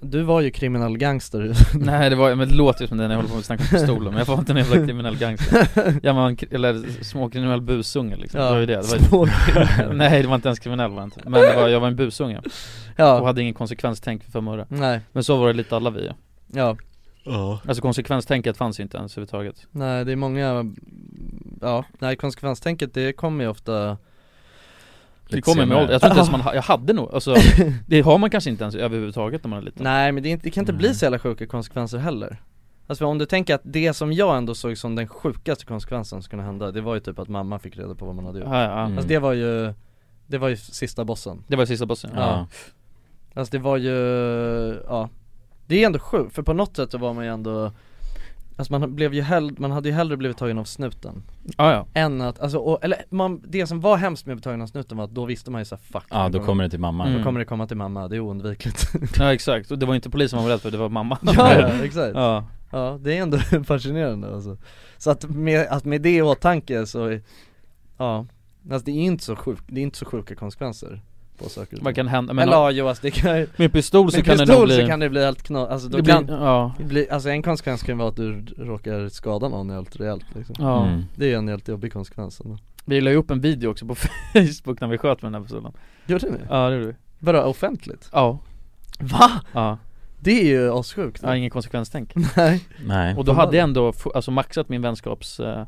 [SPEAKER 2] du var ju kriminell gangster
[SPEAKER 4] (laughs) Nej det var, men det låter ju som det när jag håller på med att snacka om pistoler, men jag var inte en jävla kriminell
[SPEAKER 2] (laughs)
[SPEAKER 4] gangster Jag var en, kri- eller småkriminell busunge liksom,
[SPEAKER 2] Ja,
[SPEAKER 4] det var ju det, det var ju,
[SPEAKER 2] småkriminell.
[SPEAKER 4] (laughs) Nej det var inte ens kriminell var jag inte, men det var, jag var en busunge
[SPEAKER 2] Ja.
[SPEAKER 4] Och hade ingen konsekvenstänk för fem öre
[SPEAKER 2] Nej.
[SPEAKER 4] Men så var det lite alla vi ju.
[SPEAKER 2] Ja
[SPEAKER 4] Alltså konsekvenstänket fanns ju inte ens överhuvudtaget
[SPEAKER 2] Nej det är många, ja, nej konsekvenstänket det kommer ju ofta
[SPEAKER 4] Det kommer med ålder, jag tror
[SPEAKER 2] (laughs)
[SPEAKER 4] inte ens man, ha- jag hade nog, alltså Det har man kanske inte ens överhuvudtaget när man är liten
[SPEAKER 2] Nej men det, är inte, det kan inte bli så jävla sjuka konsekvenser heller Alltså om du tänker att det som jag ändå såg som den sjukaste konsekvensen som kunde hända Det var ju typ att mamma fick reda på vad man hade gjort
[SPEAKER 4] Ja, ja.
[SPEAKER 2] Alltså
[SPEAKER 4] Mm.
[SPEAKER 2] det var ju, det var ju sista bossen
[SPEAKER 4] Det var sista bossen,
[SPEAKER 2] Ja, Alltså det var ju, ja Det är ändå sjukt, för på något sätt så var man ju ändå Alltså man blev ju hell, man hade ju hellre blivit tagen av snuten
[SPEAKER 4] Ja, ja.
[SPEAKER 2] Än att, alltså, och, eller man, det som var hemskt med att bli tagen av snuten var att då visste man ju såhär fuck
[SPEAKER 1] Ja, då kommer det till mamma.
[SPEAKER 2] Då
[SPEAKER 1] Mm.
[SPEAKER 2] kommer det komma till mamma, det är oundvikligt
[SPEAKER 4] Ja exakt, och det var inte polisen man var rädd för, det var mamma
[SPEAKER 2] Ja, ja exakt.
[SPEAKER 4] Ja.
[SPEAKER 2] Ja. det är ändå (laughs) fascinerande alltså. Så att med, att med det i åtanke så, är- ja, alltså det är inte så sjukt, det är inte så sjuka konsekvenser på saker och ting.
[SPEAKER 4] Vad kan hända? Men-
[SPEAKER 2] Eller ja, jo, alltså det kan ju
[SPEAKER 4] Med pistol så
[SPEAKER 2] med
[SPEAKER 4] kan det
[SPEAKER 2] pistol
[SPEAKER 4] nog
[SPEAKER 2] så
[SPEAKER 4] bli-
[SPEAKER 2] kan det bli helt knas, alltså då
[SPEAKER 4] Det blir-
[SPEAKER 2] kan,
[SPEAKER 4] ja.
[SPEAKER 2] det blir, alltså en konsekvens kan vara att du råkar skada någon helt rejält liksom.
[SPEAKER 4] Ja. Mm.
[SPEAKER 2] Det är ju en helt jobbig konsekvens ändå.
[SPEAKER 4] Vi la ju upp en video också på (laughs) Facebook när vi sköt med den här pistolen
[SPEAKER 2] Gjorde ni?
[SPEAKER 4] Ja det gjorde vi
[SPEAKER 2] Vadå, offentligt?
[SPEAKER 4] Ja
[SPEAKER 2] Va?
[SPEAKER 4] Ja
[SPEAKER 2] Det är ju assjukt
[SPEAKER 4] Ja, ingen konsekvenstänk
[SPEAKER 2] Nej
[SPEAKER 1] Nej.
[SPEAKER 4] Och då hade jag ändå f- alltså, maxat min vänskaps eh,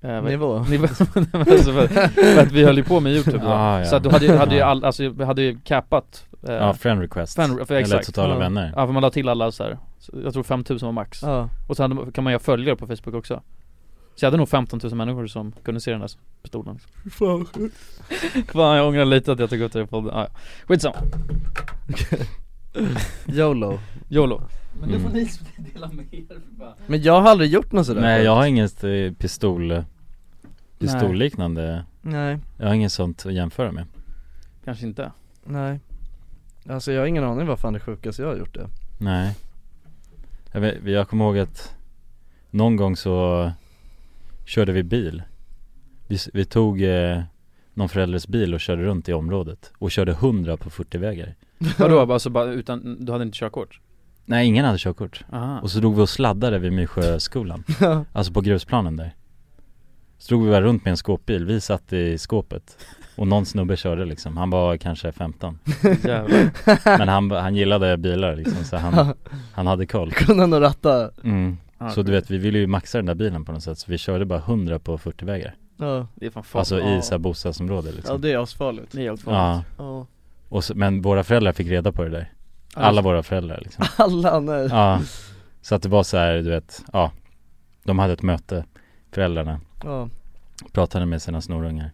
[SPEAKER 4] eh, vad-
[SPEAKER 2] Nivå.
[SPEAKER 4] (laughs) nivå alltså för, för att vi höll ju på med youtube då
[SPEAKER 1] Ah, ja.
[SPEAKER 4] Så att då hade, ju-
[SPEAKER 1] (laughs)
[SPEAKER 4] hade ju
[SPEAKER 1] Ja.
[SPEAKER 4] all, alltså vi hade ju capat eh,
[SPEAKER 1] Ja, friend request.
[SPEAKER 4] friend, för,
[SPEAKER 1] Eller
[SPEAKER 4] exakt.
[SPEAKER 1] totala
[SPEAKER 4] ja.
[SPEAKER 1] vänner.
[SPEAKER 4] Ja för man la till alla så här. Så jag tror 5000 var max
[SPEAKER 2] Ja.
[SPEAKER 4] Och så hade, man- kan man göra följare på facebook också Så jag hade nog 15 000 människor som kunde se den där pistolen
[SPEAKER 2] Fan
[SPEAKER 4] (laughs) Fan jag ångrar lite att jag tog upp det i podden, ah, ja. skitsamma
[SPEAKER 2] YOLO
[SPEAKER 4] YOLO
[SPEAKER 2] Men nu får Mm. ni
[SPEAKER 4] dela med er
[SPEAKER 2] Men jag har aldrig gjort något sådär
[SPEAKER 1] Nej
[SPEAKER 2] förut.
[SPEAKER 1] jag har ingen st- pistol eh, Pistolliknande
[SPEAKER 2] Nej.
[SPEAKER 1] Jag har inget sånt att jämföra med.
[SPEAKER 4] Kanske inte
[SPEAKER 2] Nej Alltså jag har ingen aning vad fan det sjukaste jag har gjort det
[SPEAKER 1] Nej Jag, vet, jag kommer ihåg att någon gång så körde vi bil Vi, s- vi tog eh, någon förälders bil och körde runt i området och körde 100 på 40-vägar
[SPEAKER 4] Vadå? Alltså bara utan, du hade inte körkort?
[SPEAKER 1] Nej ingen hade körkort
[SPEAKER 4] Aha.
[SPEAKER 1] Och så drog vi och sladdade vid Mysjöskolan Alltså på grusplanen där Så drog vi bara runt med en skåpbil, vi satt i skåpet Och någon snubbe körde liksom, han var kanske 15
[SPEAKER 4] Jävlar.
[SPEAKER 1] Men han, han gillade bilar liksom
[SPEAKER 2] (laughs)
[SPEAKER 1] så han, han hade koll
[SPEAKER 2] Kunde han nog ratta
[SPEAKER 1] mm.
[SPEAKER 2] Ja,
[SPEAKER 1] Så du vet, vi ville ju maxa den där bilen på något sätt Så vi körde bara 100 på 40-vägar
[SPEAKER 2] Ja.
[SPEAKER 4] Det är fan farligt.
[SPEAKER 1] Alltså i
[SPEAKER 4] Ja.
[SPEAKER 1] såhär bostadsområde liksom
[SPEAKER 2] Ja det är asfarligt Det
[SPEAKER 4] är helt
[SPEAKER 1] Ja,
[SPEAKER 2] Ja.
[SPEAKER 1] och så, men våra föräldrar fick reda på det där
[SPEAKER 2] Ja.
[SPEAKER 1] Alla våra föräldrar liksom
[SPEAKER 2] Alltså. (laughs) Alla, nej.
[SPEAKER 1] Ja, så att det var så här, du vet, ja De hade ett möte, föräldrarna
[SPEAKER 2] Ja.
[SPEAKER 1] Pratade med sina snorungar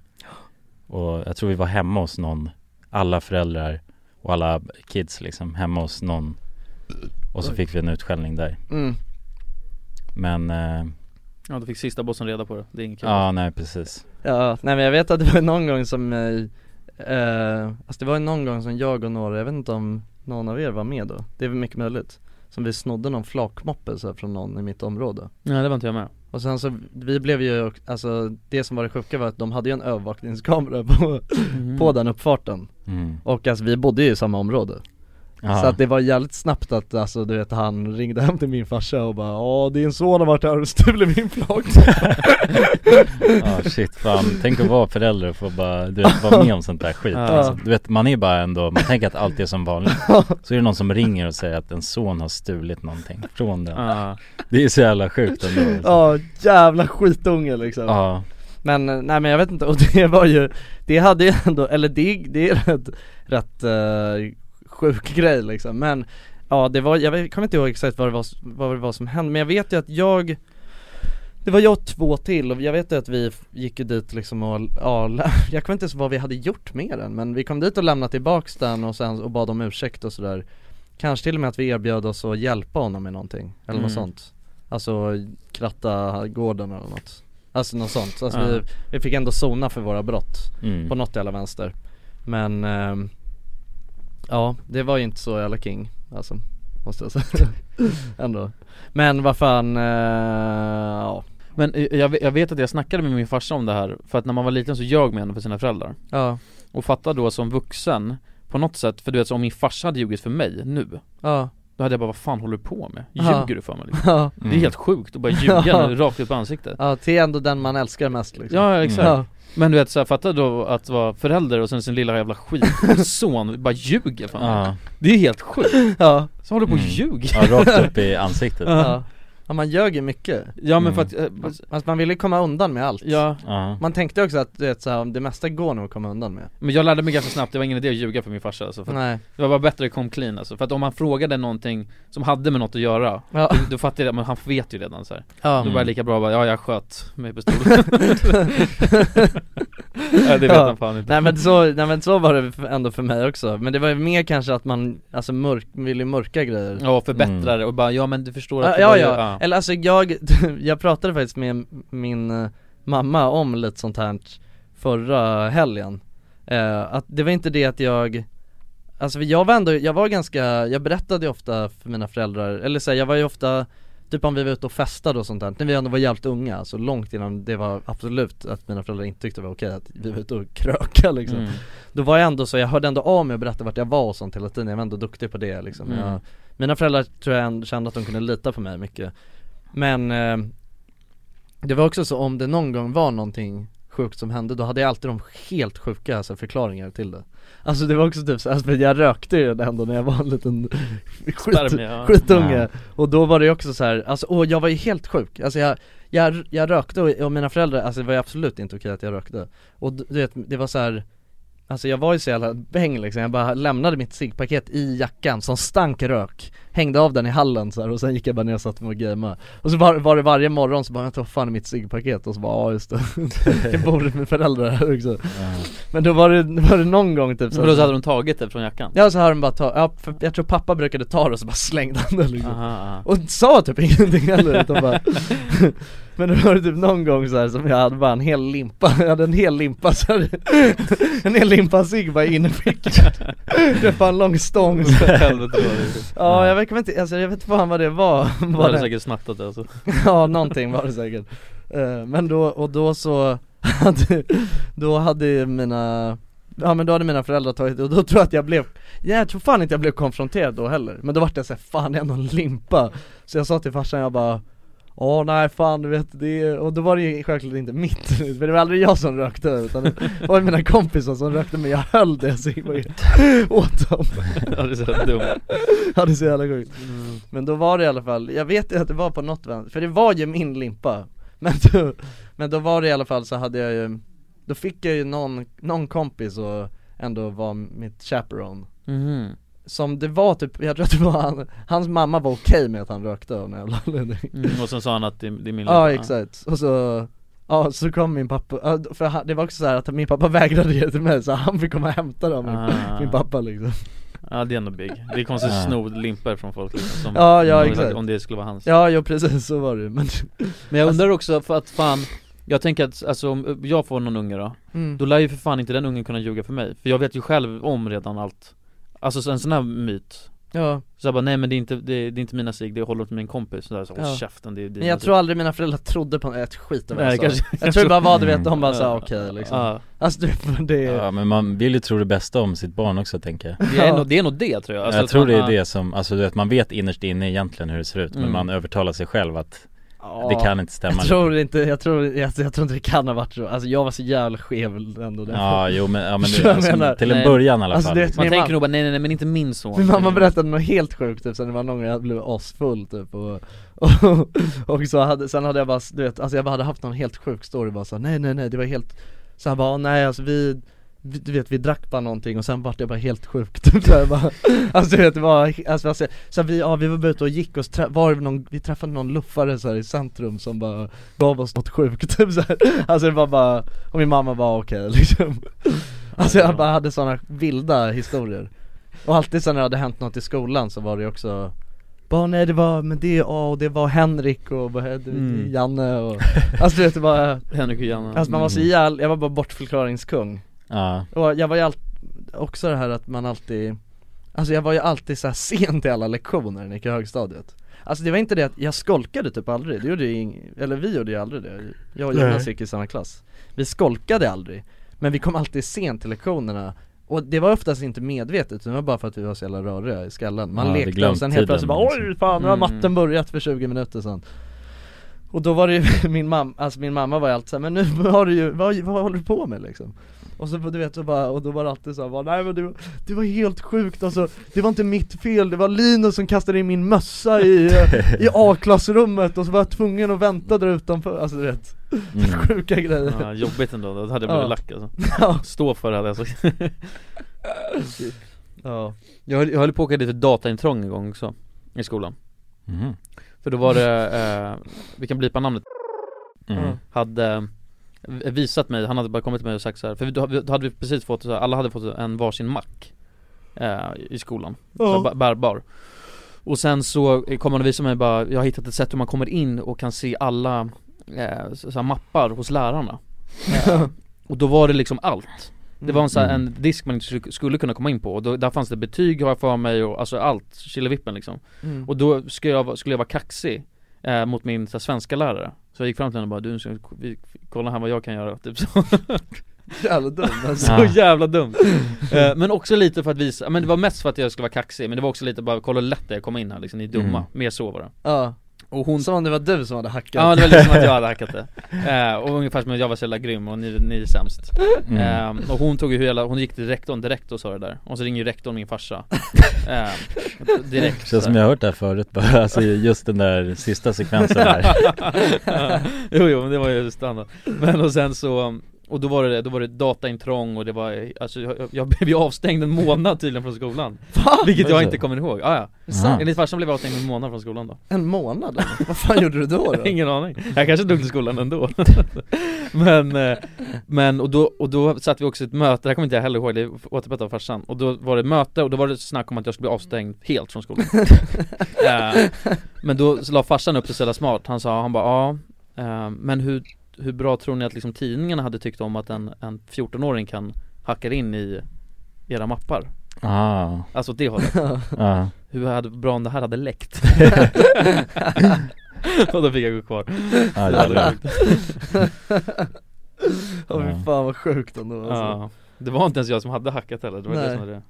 [SPEAKER 1] Och jag tror vi var hemma hos någon Alla föräldrar och alla kids liksom, hemma hos någon Och så
[SPEAKER 4] Oj.
[SPEAKER 1] fick vi en utskällning där
[SPEAKER 4] Mm.
[SPEAKER 1] Men, eh,
[SPEAKER 4] Ja då fick sista bossen reda på det, det är inget kul
[SPEAKER 1] ja nej precis
[SPEAKER 2] Ja, nej men jag vet att det var någon gång som, eh, eh, alltså det var ju någon gång som jag och några, jag vet inte om någon av er var med då, det är väl mycket möjligt Som vi snodde någon flakmoppe så här, från någon i mitt område
[SPEAKER 4] Nej det var
[SPEAKER 2] (laughs)
[SPEAKER 4] inte jag med
[SPEAKER 2] Och sen så, vi blev ju, alltså det som var det sjuka var att de hade ju en övervakningskamera på, på den uppfarten
[SPEAKER 1] Mm.
[SPEAKER 2] Och alltså vi bodde ju i samma område
[SPEAKER 1] Ja.
[SPEAKER 2] Så att det var jävligt snabbt att alltså du vet han ringde hem till min farsa och bara Ja din son har varit här och stulit min flakmoppe
[SPEAKER 1] (laughs) Ja shit fan, tänk att vara förälder och få bara, du vet, vara med om sånt där skit
[SPEAKER 2] Ja.
[SPEAKER 1] alltså. Du vet man är bara ändå, man tänker att allt är som vanligt Så är det någon som ringer och säger att en son har stulit någonting från den
[SPEAKER 4] Ja.
[SPEAKER 1] Det är så jävla sjukt ändå alltså.
[SPEAKER 2] Ja, jävla skitunge liksom
[SPEAKER 1] Ja.
[SPEAKER 2] Men eh, nej men jag vet inte, och det var ju Det hade ju ändå, eller det, det är rätt, rätt eh, sjuk grej liksom men Ja det var, jag vet- kommer inte ihåg exakt vad det var, s- vad det var som hände men jag vet ju att jag det var jag och två till och jag vet ju att vi f- gick ju dit liksom och, ja, lä- (laughs) jag kommer inte ens ihåg vad vi hade gjort med den men vi kom dit och lämnade tillbaks den och sen och bad om ursäkt och sådär Kanske till och med att vi erbjöd oss att hjälpa honom med någonting eller något
[SPEAKER 4] Mm.
[SPEAKER 2] sånt Alltså kratta gården eller något Alltså något sånt, alltså
[SPEAKER 4] Ja.
[SPEAKER 2] vi, vi fick ändå sona för våra brott
[SPEAKER 4] Mm.
[SPEAKER 2] på något jävla vänster Men ehm, Ja, det var ju inte så jävla king alltså, måste jag säga Ändå Men vad fan, eh, ja
[SPEAKER 4] Men eh, jag, ve- jag vet att jag snackade med min farsa om det här, för att när man var liten så ljög man ändå för sina föräldrar
[SPEAKER 2] Ja.
[SPEAKER 4] Och fatta då som vuxen, på något sätt, för du vet så om min farsa hade ljugit för mig nu
[SPEAKER 2] Ja.
[SPEAKER 4] Då hade jag bara, vad fan håller du på med? Ljuger
[SPEAKER 2] Ja.
[SPEAKER 4] du för mig liksom?
[SPEAKER 2] Ja.
[SPEAKER 1] Mm.
[SPEAKER 4] Det är helt sjukt att bara ljuga
[SPEAKER 2] (laughs)
[SPEAKER 4] rakt upp på ansiktet
[SPEAKER 2] (laughs) Ja, till ändå den man älskar mest liksom
[SPEAKER 4] Ja exakt
[SPEAKER 2] Ja.
[SPEAKER 4] Men du vet såhär, fatta då att vara förälder och sen sin lilla
[SPEAKER 2] (laughs)
[SPEAKER 4] jävla skitson bara ljuger för mig
[SPEAKER 1] Ja.
[SPEAKER 4] Det är helt sjukt
[SPEAKER 2] Ja.
[SPEAKER 4] Så håller du på och ljuger
[SPEAKER 2] Ja, ja man ljög ju mycket
[SPEAKER 4] Ja, men för att,
[SPEAKER 2] man, alltså, man ville komma undan med allt
[SPEAKER 4] Ja
[SPEAKER 1] Mm. Ja. Mm.
[SPEAKER 2] Man tänkte också att du vet, så här, det mesta går nog att komma undan med
[SPEAKER 4] Men jag lärde mig ganska snabbt, det var ingen idé att ljuga för min farsa alltså, för att
[SPEAKER 2] Nej.
[SPEAKER 4] Det var bara bättre att kom clean alltså, för att om han frågade någonting som hade med något att göra
[SPEAKER 2] Ja.
[SPEAKER 4] Då, då fattade jag, men han vet ju redan så här.
[SPEAKER 2] Ja.
[SPEAKER 4] Då var
[SPEAKER 2] Mm.
[SPEAKER 4] det lika bra att bara, ja jag sköt med pistol
[SPEAKER 2] (laughs)
[SPEAKER 4] Nej det vet han fan inte
[SPEAKER 2] Nej men så, nej men så var det f- ändå för mig också Men det var ju mer kanske att man, alltså mörk, ville mörka grejer
[SPEAKER 4] Ja förbättra det och bara, ja men du förstår att
[SPEAKER 2] Ja,
[SPEAKER 4] det
[SPEAKER 2] ja,
[SPEAKER 4] var ju-
[SPEAKER 2] ja. eller alltså jag, (laughs) jag pratade faktiskt med min eh, mamma om lite sånt här förra helgen eh, Att det var inte det att jag Alltså för jag var ändå, jag var ganska, jag berättade ju ofta för mina föräldrar, eller så här, jag var ju ofta Typ om vi var ute och festade och sånt där, när vi ändå var jävligt unga, alltså långt innan det var absolut att mina föräldrar inte tyckte det var okej att vi var ute och kröka liksom
[SPEAKER 4] Mm.
[SPEAKER 2] Då var jag ändå så, jag hörde ändå av mig och berättade vart jag var och sånt hela tiden, jag var ändå duktig på det liksom
[SPEAKER 4] Mm.
[SPEAKER 2] jag, Mina föräldrar tror jag ändå kände att de kunde lita på mig mycket Men eh, det var också så om det någon gång var någonting sjukt som hände, då hade jag alltid de helt sjuka alltså, förklaringar till det Alltså det var också typ så, alltså, för jag rökte ju ändå när jag var en liten skit,
[SPEAKER 4] Spermie, ja.
[SPEAKER 2] skitunge
[SPEAKER 4] Ja.
[SPEAKER 2] Och då var det ju också så här, alltså och jag var ju helt sjuk, alltså jag, jag, jag rökte och, och mina föräldrar, alltså det var ju absolut inte okej att jag rökte Och du vet, det var så här Alltså jag var ju så jävla bäng liksom, jag bara lämnade mitt ciggpaket i jackan som stank rök Hängde av den i hallen så här, och sen gick jag bara ner och satte mig och gamea Och så var, var det varje morgon så bara, vänta vad fan är mitt ciggpaket? Och så bara, ja just det, (laughs) jag bor med föräldrar här också Men då var det, var det någon gång typ
[SPEAKER 4] Men då så hade de tagit det från jackan?
[SPEAKER 2] Ja så hade de bara tagit, ja, för jag tror pappa brukade
[SPEAKER 4] (laughs)
[SPEAKER 2] ta det och så bara slängde han det liksom
[SPEAKER 4] Aha, aha. (laughs)
[SPEAKER 2] Och sa typ ingenting heller utan bara Men det var typ någon gång så här som jag hade bara en hel limpa, (laughs) jag hade en hel limpa så här, (laughs) En hel limpa cigg bara inne i fickan Det var en lång stång så här. Ja jag vet inte, alltså jag vet fan vad det var
[SPEAKER 4] Du
[SPEAKER 2] (laughs) Vad
[SPEAKER 4] hade säkert snattat det alltså
[SPEAKER 2] Ja någonting var det säkert Eh, Men då, och då så hade, då hade ju mina Ja men då hade mina föräldrar tagit det och då tror jag att jag blev ja, Jag tror fan inte jag blev konfronterad då heller Men då vart jag såhär, fan det är ändå en limpa Så jag sa till farsan, jag bara Åh nej fan du vet det är... och då var det ju självklart inte mitt (laughs) För det var aldrig jag som rökte utan det var ju mina kompisar som rökte men jag höll det så jag var ju
[SPEAKER 4] (laughs)
[SPEAKER 2] åt dem
[SPEAKER 4] Ja, det är så jävla
[SPEAKER 2] (laughs)
[SPEAKER 4] dumt.
[SPEAKER 2] Ja det är så jävla sjukt Men då var det i alla fall, jag vet ju att det var på något vän, för det var ju min limpa Men då, men då var det i alla fall så hade jag ju Då fick jag ju någon, någon kompis och ändå var mitt chaperone
[SPEAKER 4] Mhm.
[SPEAKER 2] Som det var typ, jag tror att det var han, hans mamma var okej med att han rökte av någon jävla anledning
[SPEAKER 4] Mm, och sen sa han att det, det är min
[SPEAKER 2] Ja
[SPEAKER 4] limpa.
[SPEAKER 2] exakt, och så Ja så kom min pappa, ja, för han, det var också så här att min pappa vägrade ge till mig så han fick komma och hämta dem,
[SPEAKER 4] Ah.
[SPEAKER 2] min pappa liksom
[SPEAKER 4] Ja det är ändå big, det är konstigt
[SPEAKER 2] Ja.
[SPEAKER 4] att sno limpor från folk liksom, som,
[SPEAKER 2] Ja ja
[SPEAKER 4] om-
[SPEAKER 2] exakt
[SPEAKER 4] Om det skulle vara hans
[SPEAKER 2] Ja ja precis, så var det ju. men Alltså-
[SPEAKER 4] Men jag undrar också för att fan Jag tänker att, alltså om jag får någon unge då
[SPEAKER 2] Mm.
[SPEAKER 4] Då lär ju för fan inte den ungen kunna ljuga för mig För jag vet ju själv om redan allt Alltså så en sån här myt
[SPEAKER 2] Ja.
[SPEAKER 4] Så jag bara nej men det är inte, det är, det är inte mina cigg, det håller åt min kompis Så där så,
[SPEAKER 2] Ja.
[SPEAKER 4] håll käften det är dina
[SPEAKER 2] Men jag
[SPEAKER 4] cigg."
[SPEAKER 2] tror aldrig mina föräldrar trodde på ett skit av vad
[SPEAKER 4] Nej,
[SPEAKER 2] jag sa
[SPEAKER 4] kanske-
[SPEAKER 2] Jag tror det
[SPEAKER 4] (laughs)
[SPEAKER 2] bara var du vet, de bara sa okej liksom Alltså du, det är...
[SPEAKER 1] Mm. Ja men man vill ju tro det bästa om sitt barn också tänker jag
[SPEAKER 4] Det är nog det, är nog det tror jag Alltså
[SPEAKER 1] jag
[SPEAKER 4] att
[SPEAKER 1] tror
[SPEAKER 4] man-
[SPEAKER 1] det är
[SPEAKER 4] ja.
[SPEAKER 1] det som, alltså du vet man vet innerst inne egentligen hur det ser ut
[SPEAKER 4] Mm.
[SPEAKER 1] men man övertalar sig själv att
[SPEAKER 2] Ja,
[SPEAKER 1] det kan inte stämma
[SPEAKER 2] Jag tror inte, jag tror, jag, jag tror inte det kan ha varit så, alltså jag var så jävla skev ändå där
[SPEAKER 1] Ja, jo, men-
[SPEAKER 2] (laughs)
[SPEAKER 1] ja, men det-
[SPEAKER 2] Så jag
[SPEAKER 1] alltså,
[SPEAKER 2] menar-
[SPEAKER 1] till en Nej. början i alla fall.
[SPEAKER 2] vet,
[SPEAKER 4] Man
[SPEAKER 2] min
[SPEAKER 4] tänker
[SPEAKER 2] mam-
[SPEAKER 4] nog bara nej nej nej men inte min son
[SPEAKER 2] Min mamma berättade något helt sjukt typ, sen det var någon gång jag blev asfull typ och, och, och så hade, sen hade jag bara, du vet, alltså jag bara hade haft någon helt sjuk story bara så här, nej nej nej det var helt Så han bara, nej alltså vi, vi du vet vi drack bara någonting och sen vart det bara helt sjukt (laughs) typ så här, bara, Alltså du vet det var, alltså, alltså så här, vi, ja vi var bara ute och gick och så trä, var det någon, vi träffade någon luffare så här i centrum som bara gav oss något sjukt (laughs) typ så här. Alltså det var bara, och min mamma bara okej (laughs) liksom
[SPEAKER 4] Mm.
[SPEAKER 2] Alltså jag bara hade sådana vilda historier och alltid sen när det hade hänt något i skolan så var det ju också bara nej det var, men det, ja, och det var Henrik och vad hette-
[SPEAKER 4] Mm.
[SPEAKER 2] Janne och Alltså du vet det var
[SPEAKER 4] Henrik och Janne
[SPEAKER 2] Alltså man var så
[SPEAKER 4] Mm.
[SPEAKER 2] jävla, jag var bara bortförklaringskung
[SPEAKER 1] Ja.
[SPEAKER 2] Och jag var ju allt, också det här att man alltid Alltså jag var ju alltid så här sen till alla lektioner när jag gick i högstadiet Alltså det var inte det att jag skolkade typ aldrig, det gjorde ju ing- eller vi gjorde ju aldrig det Jag och Jonas
[SPEAKER 4] Nej.
[SPEAKER 2] gick i samma klass Vi skolkade aldrig, men vi kom alltid sent till lektionerna och det var oftast inte medvetet, utan det var bara för att vi var så jävla röriga i skallen Man
[SPEAKER 1] Ja, det
[SPEAKER 2] lekte
[SPEAKER 1] glömt
[SPEAKER 2] och sen helt plötsligt
[SPEAKER 1] tiden,
[SPEAKER 2] bara oj
[SPEAKER 1] liksom.
[SPEAKER 2] fan nu har
[SPEAKER 1] Mm.
[SPEAKER 2] matten börjat för 20 minuter sedan Och då var det ju (laughs) min mamma, alltså min mamma var ju alltid såhär, men nu har du ju, vad, vad håller du på med liksom? Och så du vet så bara, och då var det alltid såhär, nej men det, det var helt sjukt alltså Det var inte mitt fel, det var Linus som kastade in min mössa i, eh,
[SPEAKER 1] (laughs)
[SPEAKER 2] i A-klassrummet och så var jag tvungen att vänta där utanför, alltså du vet
[SPEAKER 1] Mm.
[SPEAKER 2] (laughs) Sjuka grejer
[SPEAKER 4] ja, Jobbigt ändå, då hade jag blivit
[SPEAKER 2] Ja.
[SPEAKER 4] lack alltså
[SPEAKER 2] (laughs) Ja.
[SPEAKER 4] Stå för det hade jag sagt
[SPEAKER 2] (laughs) Ja
[SPEAKER 4] Jag höll, jag höll på att åka dit för dataintrång en gång också, i skolan
[SPEAKER 1] Mhm.
[SPEAKER 4] För då var det, eh, vi kan blipa namnet
[SPEAKER 1] Mm.
[SPEAKER 4] Hade eh, visat mig, han hade bara kommit till mig och sagt så här, för vi- då, då hade vi precis fått, så här, alla hade fått en varsin mack eh, I skolan,
[SPEAKER 2] Ja.
[SPEAKER 4] så här, ba- bärbar Och sen så kom han och visade mig bara, jag har hittat ett sätt hur man kommer in och kan se alla eh, så så här, mappar hos lärarna eh, (laughs) Och då var det liksom allt det var en, sån här, en disk man inte skulle- skulle kunna komma in på och då, där fanns det betyg har jag för mig och alltså allt, killevippen liksom
[SPEAKER 2] Mm.
[SPEAKER 4] Och då skulle jag, vara- skulle jag vara kaxig eh, mot min så här, svenska lärare Så jag gick fram till henne och bara du, ska vi, kolla här vad jag kan göra, typ så
[SPEAKER 2] (laughs) Jävla dum alltså.
[SPEAKER 4] Så jävla
[SPEAKER 1] (laughs)
[SPEAKER 4] dum eh, Men också lite för att visa, men det var mest för att jag skulle vara kaxig men det var också lite bara kolla hur lätt det är att komma in här liksom, ni är dumma,
[SPEAKER 2] Mm.
[SPEAKER 4] mer så var det
[SPEAKER 2] Ja
[SPEAKER 4] och hon...
[SPEAKER 2] Som om det var du som hade hackat
[SPEAKER 4] Ja det var liksom att jag
[SPEAKER 2] (laughs)
[SPEAKER 4] hade hackat det, eh, och ungefär som att jag var så jävla grym och ni, ni är sämst
[SPEAKER 1] Mm.
[SPEAKER 4] eh, Och hon tog ju hela, hon gick till rektorn direkt och sa det där, och så ringer ju rektorn min
[SPEAKER 1] (laughs)
[SPEAKER 4] farsa eh, Direkt
[SPEAKER 1] Känns som jag har hört det här förut bara, (laughs) alltså just den där sista
[SPEAKER 2] (laughs)
[SPEAKER 1] sekvensen där
[SPEAKER 4] (laughs) jo, jo, men det var ju standard Men och sen så och då var det, då var det dataintrång och det var, alltså jag, jag blev ju avstängd en månad tydligen från skolan Vilket
[SPEAKER 1] Alltså.
[SPEAKER 4] jag inte kommer ihåg, ah,
[SPEAKER 2] det
[SPEAKER 4] ja.
[SPEAKER 2] sant?
[SPEAKER 4] Enligt farsan blev jag avstängd en månad från skolan då
[SPEAKER 2] En månad? eller? Vad fan gjorde du då då?
[SPEAKER 4] (laughs) Ingen aning, jag kanske dog till skolan ändå
[SPEAKER 2] (laughs)
[SPEAKER 4] Men, eh, men och då, och då satt vi också i ett möte, det här kommer inte jag heller ihåg, det är återberättat av farsan Och då var det ett möte och då var det snack om att jag skulle bli avstängd
[SPEAKER 2] (laughs)
[SPEAKER 4] helt från skolan Eh, Men då så la farsan upp det så jävla smart, han sa, han bara ja Eh, Men hur, hur bra tror ni att liksom tidningarna hade tyckt om att en, en 14-åring kan hacka in i era mappar?
[SPEAKER 1] Ah.
[SPEAKER 4] Alltså åt det hållet
[SPEAKER 1] Ja.
[SPEAKER 4] Hur hade, bra om det här hade (laughs) läckt Och då fick jag gå kvar
[SPEAKER 1] Ja,
[SPEAKER 4] Det
[SPEAKER 2] (laughs)
[SPEAKER 1] jävlar.
[SPEAKER 4] hade varit
[SPEAKER 2] Åh fy fan vad sjukt ändå alltså.
[SPEAKER 4] Ja. Det var inte ens jag som hade hackat heller, det var det
[SPEAKER 2] Nej.
[SPEAKER 4] som var det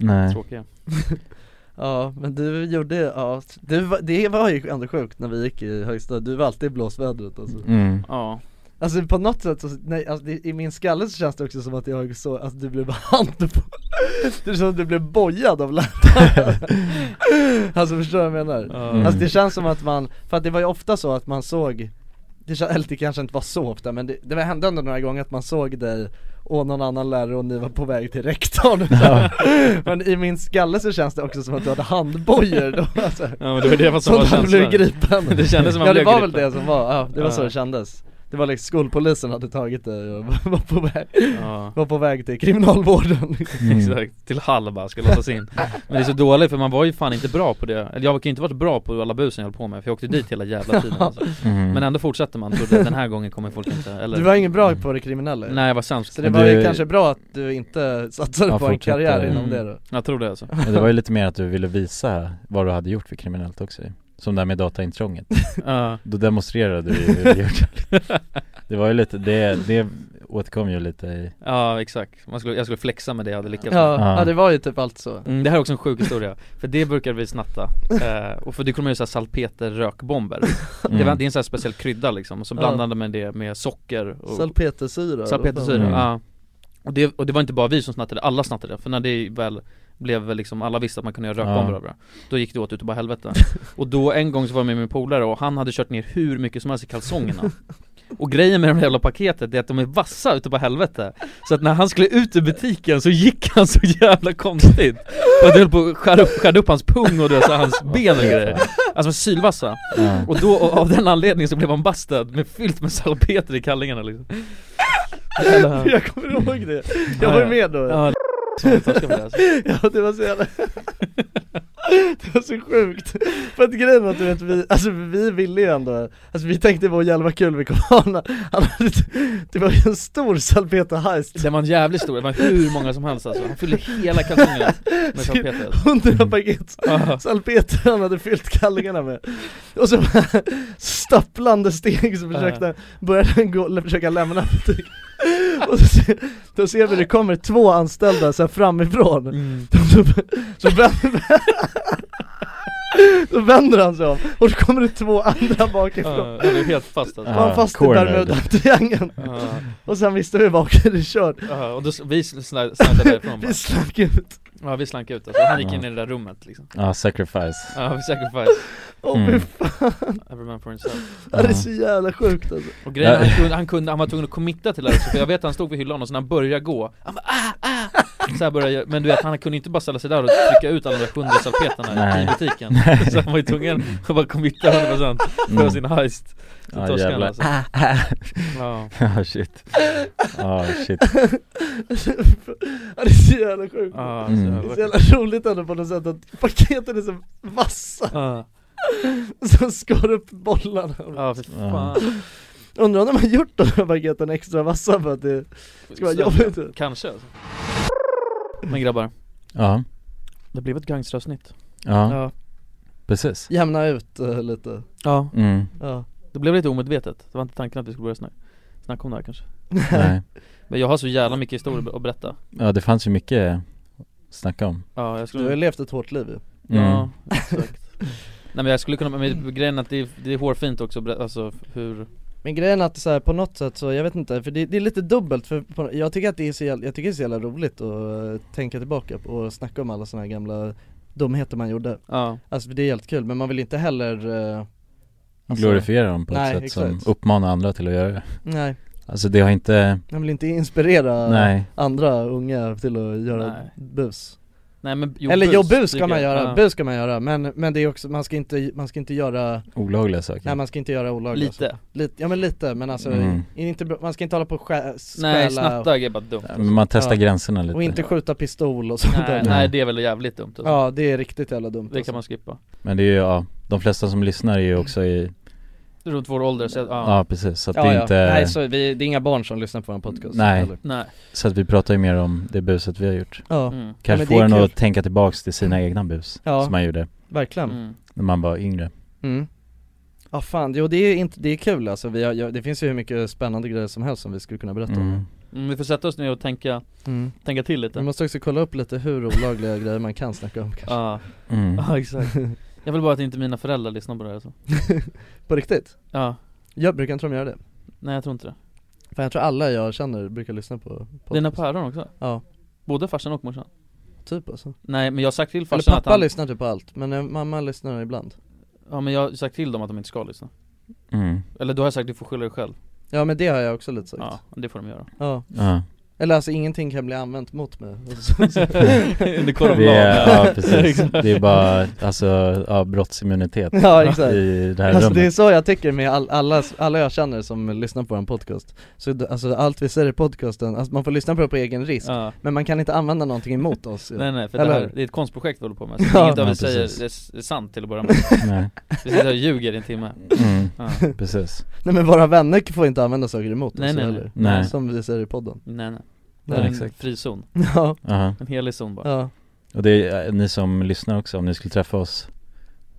[SPEAKER 1] Nej.
[SPEAKER 4] tråkiga
[SPEAKER 2] Ja men du gjorde, ja, du, var- det var ju ändå sjukt när vi gick i högstadiet, du var alltid i blåsvädret alltså
[SPEAKER 1] Mm.
[SPEAKER 4] Ja
[SPEAKER 2] Alltså på något sätt så, nej, alltså, det, i min skalle så känns det också som att jag så, alltså du blev (laughs) hand på, det är som att du blev bojad av läraren (laughs) Alltså förstår du vad jag menar?
[SPEAKER 4] Mm.
[SPEAKER 2] Alltså det känns som att man, för att det var ju ofta så att man såg det, kän- eller det kanske inte var så ofta men det, det hände ändå några gånger att man såg dig och någon annan lärare och ni var på väg till rektorn Men i min skalle så känns det också som att du hade handbojor då alltså.
[SPEAKER 4] Ja, men det var
[SPEAKER 2] (laughs)
[SPEAKER 4] det som var
[SPEAKER 2] att man blev
[SPEAKER 4] känslan.
[SPEAKER 2] gripen
[SPEAKER 4] (laughs) Det kändes som man
[SPEAKER 2] Ja det
[SPEAKER 4] blev
[SPEAKER 2] var
[SPEAKER 4] gripen.
[SPEAKER 2] väl det som var, ja, det var så
[SPEAKER 4] Ja.
[SPEAKER 2] det kändes Det var liksom skolpolisen hade tagit dig och (laughs) var på väg,
[SPEAKER 4] Ja.
[SPEAKER 2] var på väg till kriminalvården
[SPEAKER 1] Mm.
[SPEAKER 4] Exakt, till Hall bara ska
[SPEAKER 2] (laughs)
[SPEAKER 4] låsas in Men det är så dåligt för man var ju fan inte bra på det Eller jag kan ju inte varit bra på alla busen jag höll på med för jag åkte dit hela jävla tiden alltså.
[SPEAKER 1] Mm.
[SPEAKER 4] Men ändå fortsätter man, trodde att den här gången kommer folk inte, eller
[SPEAKER 2] Du var ingen bra på det kriminella ju.
[SPEAKER 4] Nej jag var sämst
[SPEAKER 2] Så det var ju
[SPEAKER 1] Du-
[SPEAKER 2] kanske bra att du inte satsade
[SPEAKER 1] Ja,
[SPEAKER 2] på en
[SPEAKER 1] fortsätter.
[SPEAKER 2] karriär inom
[SPEAKER 1] Mm.
[SPEAKER 2] det då
[SPEAKER 4] Jag tror
[SPEAKER 2] (laughs)
[SPEAKER 4] det alltså
[SPEAKER 1] Men det var ju lite mer att du ville visa vad du hade gjort för kriminellt också ju. Som det här med dataintrånget
[SPEAKER 4] Ja.
[SPEAKER 1] Då demonstrerade du ju hur
[SPEAKER 2] (laughs)
[SPEAKER 1] du hade gjort Det var ju lite, det, det återkom ju lite i
[SPEAKER 4] Ja exakt, man skulle, jag skulle flexa med det jag hade lyckats
[SPEAKER 2] Ja,
[SPEAKER 4] med
[SPEAKER 2] ja. det var ju typ allt så
[SPEAKER 4] Mm, det här är också en sjuk historia, för det brukade vi snatta, eh, och för det kunde man göra
[SPEAKER 2] (laughs)
[SPEAKER 4] såhär salpeterrökbomber det, var,
[SPEAKER 1] Mm.
[SPEAKER 4] det är en sån här speciell krydda liksom, och så
[SPEAKER 2] Ja.
[SPEAKER 4] blandade man det med socker och
[SPEAKER 2] Salpetersyra
[SPEAKER 4] salpetersyra,
[SPEAKER 1] Mm.
[SPEAKER 4] ja och det, och det var inte bara vi som snattade, alla snattade, för när det väl blev väl liksom, alla visste att man kunde göra rökbomber
[SPEAKER 1] Ja.
[SPEAKER 4] av det Då gick det åt utav
[SPEAKER 2] (laughs)
[SPEAKER 4] bara helvete Och då en gång så var jag med min polare och han hade kört ner hur mycket som helst i kalsongerna Och grejen med det här jävla paketet är att de är vassa utav bara helvete Så att när han skulle ut ur butiken så gick han så jävla konstigt Och det höll på att skära upp, skära upp hans pung och det, så hans ben och grejer Alltså var sylvassa
[SPEAKER 1] Ja.
[SPEAKER 4] Och då och av den anledningen så blev han bastad med fyllt med salpeter i kallingarna liksom (laughs) Jävla-
[SPEAKER 2] Jag kommer ihåg det, jag var
[SPEAKER 4] Ja,
[SPEAKER 2] ju
[SPEAKER 4] ja.
[SPEAKER 2] med då
[SPEAKER 4] Ja, det som vi torskade med det, alltså.
[SPEAKER 2] Ja det var så jävla (laughs) Det var så sjukt, för att grejen var att du vet, vi, alltså vi ville ju ändå, alltså vi tänkte vad jävla vad kul vi kommer ha när- han hade, Det var ju en stor salpeterheist
[SPEAKER 4] Den var en jävligt stor, det var hur många som helst alltså Han fyllde hela kalsongen (laughs) med salpeter
[SPEAKER 2] Hundra paket salpeter han hade fyllt kallingarna med Och så bara stapplande steg så
[SPEAKER 1] Eh.
[SPEAKER 2] försökte, började han (laughs) gå, eller försöka lämna butiken (laughs) Och så, se- då ser vi det kommer två anställda så här framifrån
[SPEAKER 1] Mm.
[SPEAKER 2] (laughs) så, så, vänder, (laughs) så vänder han sig om och då kommer det två andra bakifrån
[SPEAKER 4] Ja, jag blev helt fast
[SPEAKER 2] Var
[SPEAKER 4] alltså.
[SPEAKER 2] han fast i
[SPEAKER 1] cornered.
[SPEAKER 2] Bermuda-triangeln?
[SPEAKER 4] Ja.
[SPEAKER 2] (laughs) Och sen visste vi bara okej det är kört
[SPEAKER 4] Ja, och då, s- vi sl- sl- snackade därifrån bara.
[SPEAKER 2] (laughs) Vi slank ut,
[SPEAKER 4] Ja vi slank ut alltså, han gick
[SPEAKER 1] Ja.
[SPEAKER 4] in i det där rummet liksom
[SPEAKER 1] Ja, sacrifice
[SPEAKER 4] Ja vi sacrifice,
[SPEAKER 2] åh
[SPEAKER 1] Mm.
[SPEAKER 2] fy fan
[SPEAKER 4] every man for himself
[SPEAKER 2] Ja, Det är så jävla sjukt alltså
[SPEAKER 4] Och grejen,
[SPEAKER 1] Ja.
[SPEAKER 4] han kunde, han kunde, han var tvungen att committa till det här också, för jag vet att han stod vid hyllan och så när han började gå, han bara ah, ah! Så här började, jag- men du vet han kunde inte bara ställa sig där och trycka ut alla de där hundra salpeterna
[SPEAKER 1] Nej.
[SPEAKER 4] i butiken (laughs) Så han var ju tvungen att bara committa 100% för
[SPEAKER 1] Mm.
[SPEAKER 4] sin heist Så
[SPEAKER 1] Ja,
[SPEAKER 4] torskade han
[SPEAKER 1] jävlar.
[SPEAKER 4] alltså Ja,
[SPEAKER 1] (laughs) Ja shit Ja shit
[SPEAKER 2] Ja, Det är så jävla sjukt
[SPEAKER 4] ja,
[SPEAKER 1] Mm.
[SPEAKER 2] Det är
[SPEAKER 4] så var-
[SPEAKER 2] så jävla roligt ändå på något sätt att paketen är så vassa
[SPEAKER 4] ja,
[SPEAKER 2] som skar upp bollarna
[SPEAKER 4] ja för fan
[SPEAKER 2] Undrar om de har gjort de här paketen extra vassa för att det ska vara jobbigt
[SPEAKER 4] Kanske alltså. Men grabbar,
[SPEAKER 1] Ja,
[SPEAKER 4] det blev ett gangsteravsnitt
[SPEAKER 1] ja, precis
[SPEAKER 2] Jämna ut eh, lite,
[SPEAKER 4] ja,
[SPEAKER 1] Mm,
[SPEAKER 2] ja
[SPEAKER 4] det blev lite omedvetet, det var inte tanken att vi skulle börja snacka, snacka om det här kanske
[SPEAKER 1] nej
[SPEAKER 4] Men jag har så jävla mycket historier att berätta
[SPEAKER 1] Ja det fanns ju mycket att snacka om
[SPEAKER 4] Ja, jag
[SPEAKER 2] Du har
[SPEAKER 4] skulle
[SPEAKER 2] ju levt ett hårt liv ju
[SPEAKER 1] Mm.
[SPEAKER 4] Ja, (laughs) exakt Nej men jag skulle kunna, men grejen är att det är, det är hårfint också, bre- alltså hur
[SPEAKER 2] Men grejen är att så här, på något sätt så, jag vet inte, för det, det är lite dubbelt för på, jag tycker att det är så jävla, jag tycker det är så jävla roligt att eh, tänka tillbaka på och snacka om alla såna här gamla dumheter man gjorde
[SPEAKER 4] Ja,
[SPEAKER 2] Alltså för det är helt kul, men man vill inte heller eh, alltså-
[SPEAKER 1] Glorifiera dem på ett
[SPEAKER 2] nej,
[SPEAKER 1] sätt
[SPEAKER 2] exakt.
[SPEAKER 1] som uppmanar andra till att göra det
[SPEAKER 2] Nej,
[SPEAKER 1] Alltså det har inte,
[SPEAKER 2] man vill inte inspirera
[SPEAKER 1] nej
[SPEAKER 2] andra unga till att göra
[SPEAKER 4] Nej.
[SPEAKER 2] bus
[SPEAKER 4] nej men jo,
[SPEAKER 2] Eller jo, bus
[SPEAKER 4] tycker
[SPEAKER 2] ska man
[SPEAKER 4] jag.
[SPEAKER 2] göra,
[SPEAKER 4] Ja.
[SPEAKER 2] bus ska man göra, men, men det är också, man ska inte, man ska inte göra,
[SPEAKER 1] olagliga saker
[SPEAKER 2] nej man ska inte göra olagliga
[SPEAKER 4] Lite,
[SPEAKER 2] Lite, ja men lite, men alltså
[SPEAKER 1] Mm.
[SPEAKER 2] i- inte, man ska inte hålla på och skä,
[SPEAKER 4] nej
[SPEAKER 2] stjäla och,
[SPEAKER 4] snatta är bara dumt
[SPEAKER 1] Men man testar
[SPEAKER 2] Ja.
[SPEAKER 1] gränserna lite
[SPEAKER 2] och inte skjuta pistol och sånt
[SPEAKER 4] nej,
[SPEAKER 2] där
[SPEAKER 4] nej det är väl jävligt dumt alltså.
[SPEAKER 2] Ja det är riktigt jävla Alltså, dumt
[SPEAKER 4] Det
[SPEAKER 2] alltså.
[SPEAKER 4] kan man skippa
[SPEAKER 1] Men det är ju, ja, de flesta som lyssnar är ju också i
[SPEAKER 4] Runt vår ålder så, ja.
[SPEAKER 1] Ja, precis. Så att det inte...
[SPEAKER 2] Nej, så vi, det är inga barn som lyssnar på vår podcast
[SPEAKER 1] Nej.
[SPEAKER 2] heller.
[SPEAKER 1] Så att vi pratar ju mer om det buset vi har gjort.
[SPEAKER 2] Ja. Mm. Ja,
[SPEAKER 1] Kanske
[SPEAKER 2] men det
[SPEAKER 1] får
[SPEAKER 2] är
[SPEAKER 1] en
[SPEAKER 2] kul.
[SPEAKER 1] att tänka tillbaks till sina egna bus,
[SPEAKER 2] Ja.
[SPEAKER 1] som man gjorde
[SPEAKER 2] Verkligen.
[SPEAKER 1] när man var yngre.
[SPEAKER 2] Mm. Ja fan, jo det är, inte, det är kul alltså. Vi har, ja, det finns ju hur mycket spännande grejer som helst som vi skulle kunna berätta om.
[SPEAKER 1] Mm.
[SPEAKER 4] Mm, vi får sätta oss ner och tänka,
[SPEAKER 2] Mm.
[SPEAKER 4] tänka till lite
[SPEAKER 2] Vi måste också kolla upp lite hur olagliga grejer man kan snacka om kanske.
[SPEAKER 4] Ja,
[SPEAKER 1] Mm.
[SPEAKER 2] (laughs)
[SPEAKER 4] ja exakt Jag vill bara att inte mina föräldrar lyssnar på det här alltså.
[SPEAKER 2] På riktigt?
[SPEAKER 4] Ja
[SPEAKER 2] Jag brukar inte de göra det.
[SPEAKER 4] Nej jag tror inte det
[SPEAKER 2] För jag tror alla jag känner brukar lyssna på podcast.
[SPEAKER 4] Dina päron också?
[SPEAKER 2] Ja
[SPEAKER 4] Både farsan och morsan?
[SPEAKER 2] Typ alltså.
[SPEAKER 4] Nej men jag har sagt till
[SPEAKER 2] Eller
[SPEAKER 4] farsan
[SPEAKER 2] pappa
[SPEAKER 4] att han,
[SPEAKER 2] lyssnar typ på allt, men eh, mamma lyssnar ibland.
[SPEAKER 4] Ja men jag har sagt till dem att de inte ska lyssna
[SPEAKER 1] Mm.
[SPEAKER 4] Eller då har jag sagt du får skylla dig själv
[SPEAKER 2] Ja men det har jag också lite sagt.
[SPEAKER 4] Ja, det får
[SPEAKER 2] (laughs)
[SPEAKER 4] de göra
[SPEAKER 2] Ja.
[SPEAKER 1] Ja.
[SPEAKER 2] Eller alltså ingenting kan bli använt mot mig.
[SPEAKER 4] (laughs) Under
[SPEAKER 1] Det är, ja,
[SPEAKER 4] (laughs)
[SPEAKER 1] precis. Det är bara, alltså, ja, brottsimmunitet
[SPEAKER 2] Ja exakt.
[SPEAKER 1] i det här
[SPEAKER 2] alltså,
[SPEAKER 1] rummet.
[SPEAKER 2] det är så jag tycker med all, alla, alla jag känner som lyssnar på en podcast. Så d- alltså, allt vi säger i podcasten, alltså, man får lyssna på det på egen risk,
[SPEAKER 4] Ja.
[SPEAKER 2] men man kan inte använda någonting emot oss ju.
[SPEAKER 4] Nej nej, för
[SPEAKER 2] Eller
[SPEAKER 4] det, här,
[SPEAKER 2] hur?
[SPEAKER 4] det är ett konstprojekt vi håller på med, så
[SPEAKER 2] Ja.
[SPEAKER 4] inget av
[SPEAKER 1] Ja,
[SPEAKER 4] det säger
[SPEAKER 1] precis.
[SPEAKER 4] det är s- det är sant till att börja med
[SPEAKER 1] Nej.
[SPEAKER 4] Vi sitter här och ljuger i
[SPEAKER 2] (laughs)
[SPEAKER 4] en timme
[SPEAKER 1] Mm.
[SPEAKER 4] ja.
[SPEAKER 1] Precis.
[SPEAKER 2] Nej men våra vänner får inte använda saker emot
[SPEAKER 4] Nej,
[SPEAKER 2] oss
[SPEAKER 4] nej, nej.
[SPEAKER 2] heller.
[SPEAKER 1] Nej.
[SPEAKER 2] Som vi säger i podden.
[SPEAKER 4] Nej nej, det
[SPEAKER 2] Nej,
[SPEAKER 4] är en
[SPEAKER 1] exakt.
[SPEAKER 4] frizon
[SPEAKER 2] Ja.
[SPEAKER 1] Aha.
[SPEAKER 4] En helig zon bara
[SPEAKER 2] Ja.
[SPEAKER 1] Och det är, eh, ni som lyssnar också, om ni skulle träffa oss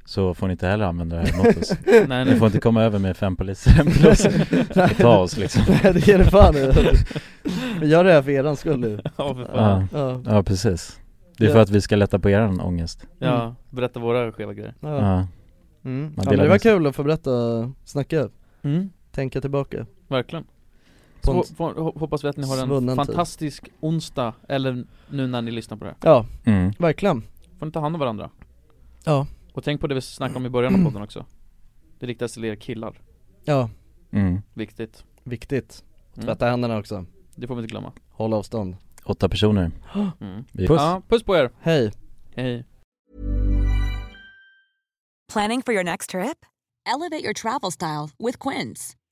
[SPEAKER 1] så får ni inte heller använda det här emot
[SPEAKER 2] (laughs)
[SPEAKER 1] oss.
[SPEAKER 4] (laughs) Nej,
[SPEAKER 1] Ni
[SPEAKER 4] nej.
[SPEAKER 1] får inte komma över med fem poliser hem till oss och ta oss liksom.
[SPEAKER 2] Nej det ger det fan i. Vi gör det här för eran skull nu.
[SPEAKER 4] Ja, för
[SPEAKER 1] Ja,
[SPEAKER 4] fan.
[SPEAKER 2] Ja.
[SPEAKER 1] ja precis. Det är för
[SPEAKER 2] Ja.
[SPEAKER 1] att vi ska lätta på er ångest.
[SPEAKER 4] Ja, Mm. berätta våra skeva grejer
[SPEAKER 2] Ja.
[SPEAKER 1] Ja.
[SPEAKER 2] Mm.
[SPEAKER 1] Man
[SPEAKER 2] ja men det
[SPEAKER 1] delar
[SPEAKER 2] var
[SPEAKER 1] med sig.
[SPEAKER 2] kul att få berätta, snacka,
[SPEAKER 4] Mm.
[SPEAKER 2] tänka tillbaka.
[SPEAKER 4] Verkligen
[SPEAKER 2] På
[SPEAKER 4] så,
[SPEAKER 2] en-
[SPEAKER 4] får, ho- hoppas vi att ni har en
[SPEAKER 2] svunnen tid.
[SPEAKER 4] fantastisk onsdag, eller nu när ni lyssnar på det här
[SPEAKER 2] Ja,
[SPEAKER 1] Mm.
[SPEAKER 2] verkligen.
[SPEAKER 4] Får ni ta hand om varandra?
[SPEAKER 2] Ja.
[SPEAKER 4] Och tänk på det vi snackade om i början av podden också Det riktas till er killar,
[SPEAKER 2] Ja,
[SPEAKER 1] Mm.
[SPEAKER 4] viktigt
[SPEAKER 2] viktigt.
[SPEAKER 4] Mm.
[SPEAKER 2] Tvätta händerna också.
[SPEAKER 4] Det får vi inte glömma
[SPEAKER 2] (gasps) Håll avstånd.
[SPEAKER 1] Åtta personer.
[SPEAKER 4] mm.
[SPEAKER 1] Vi-
[SPEAKER 4] Ja, puss på er!
[SPEAKER 2] Hej.
[SPEAKER 4] Hej
[SPEAKER 15] Planning for your next trip? Elevate your travel style with Quince.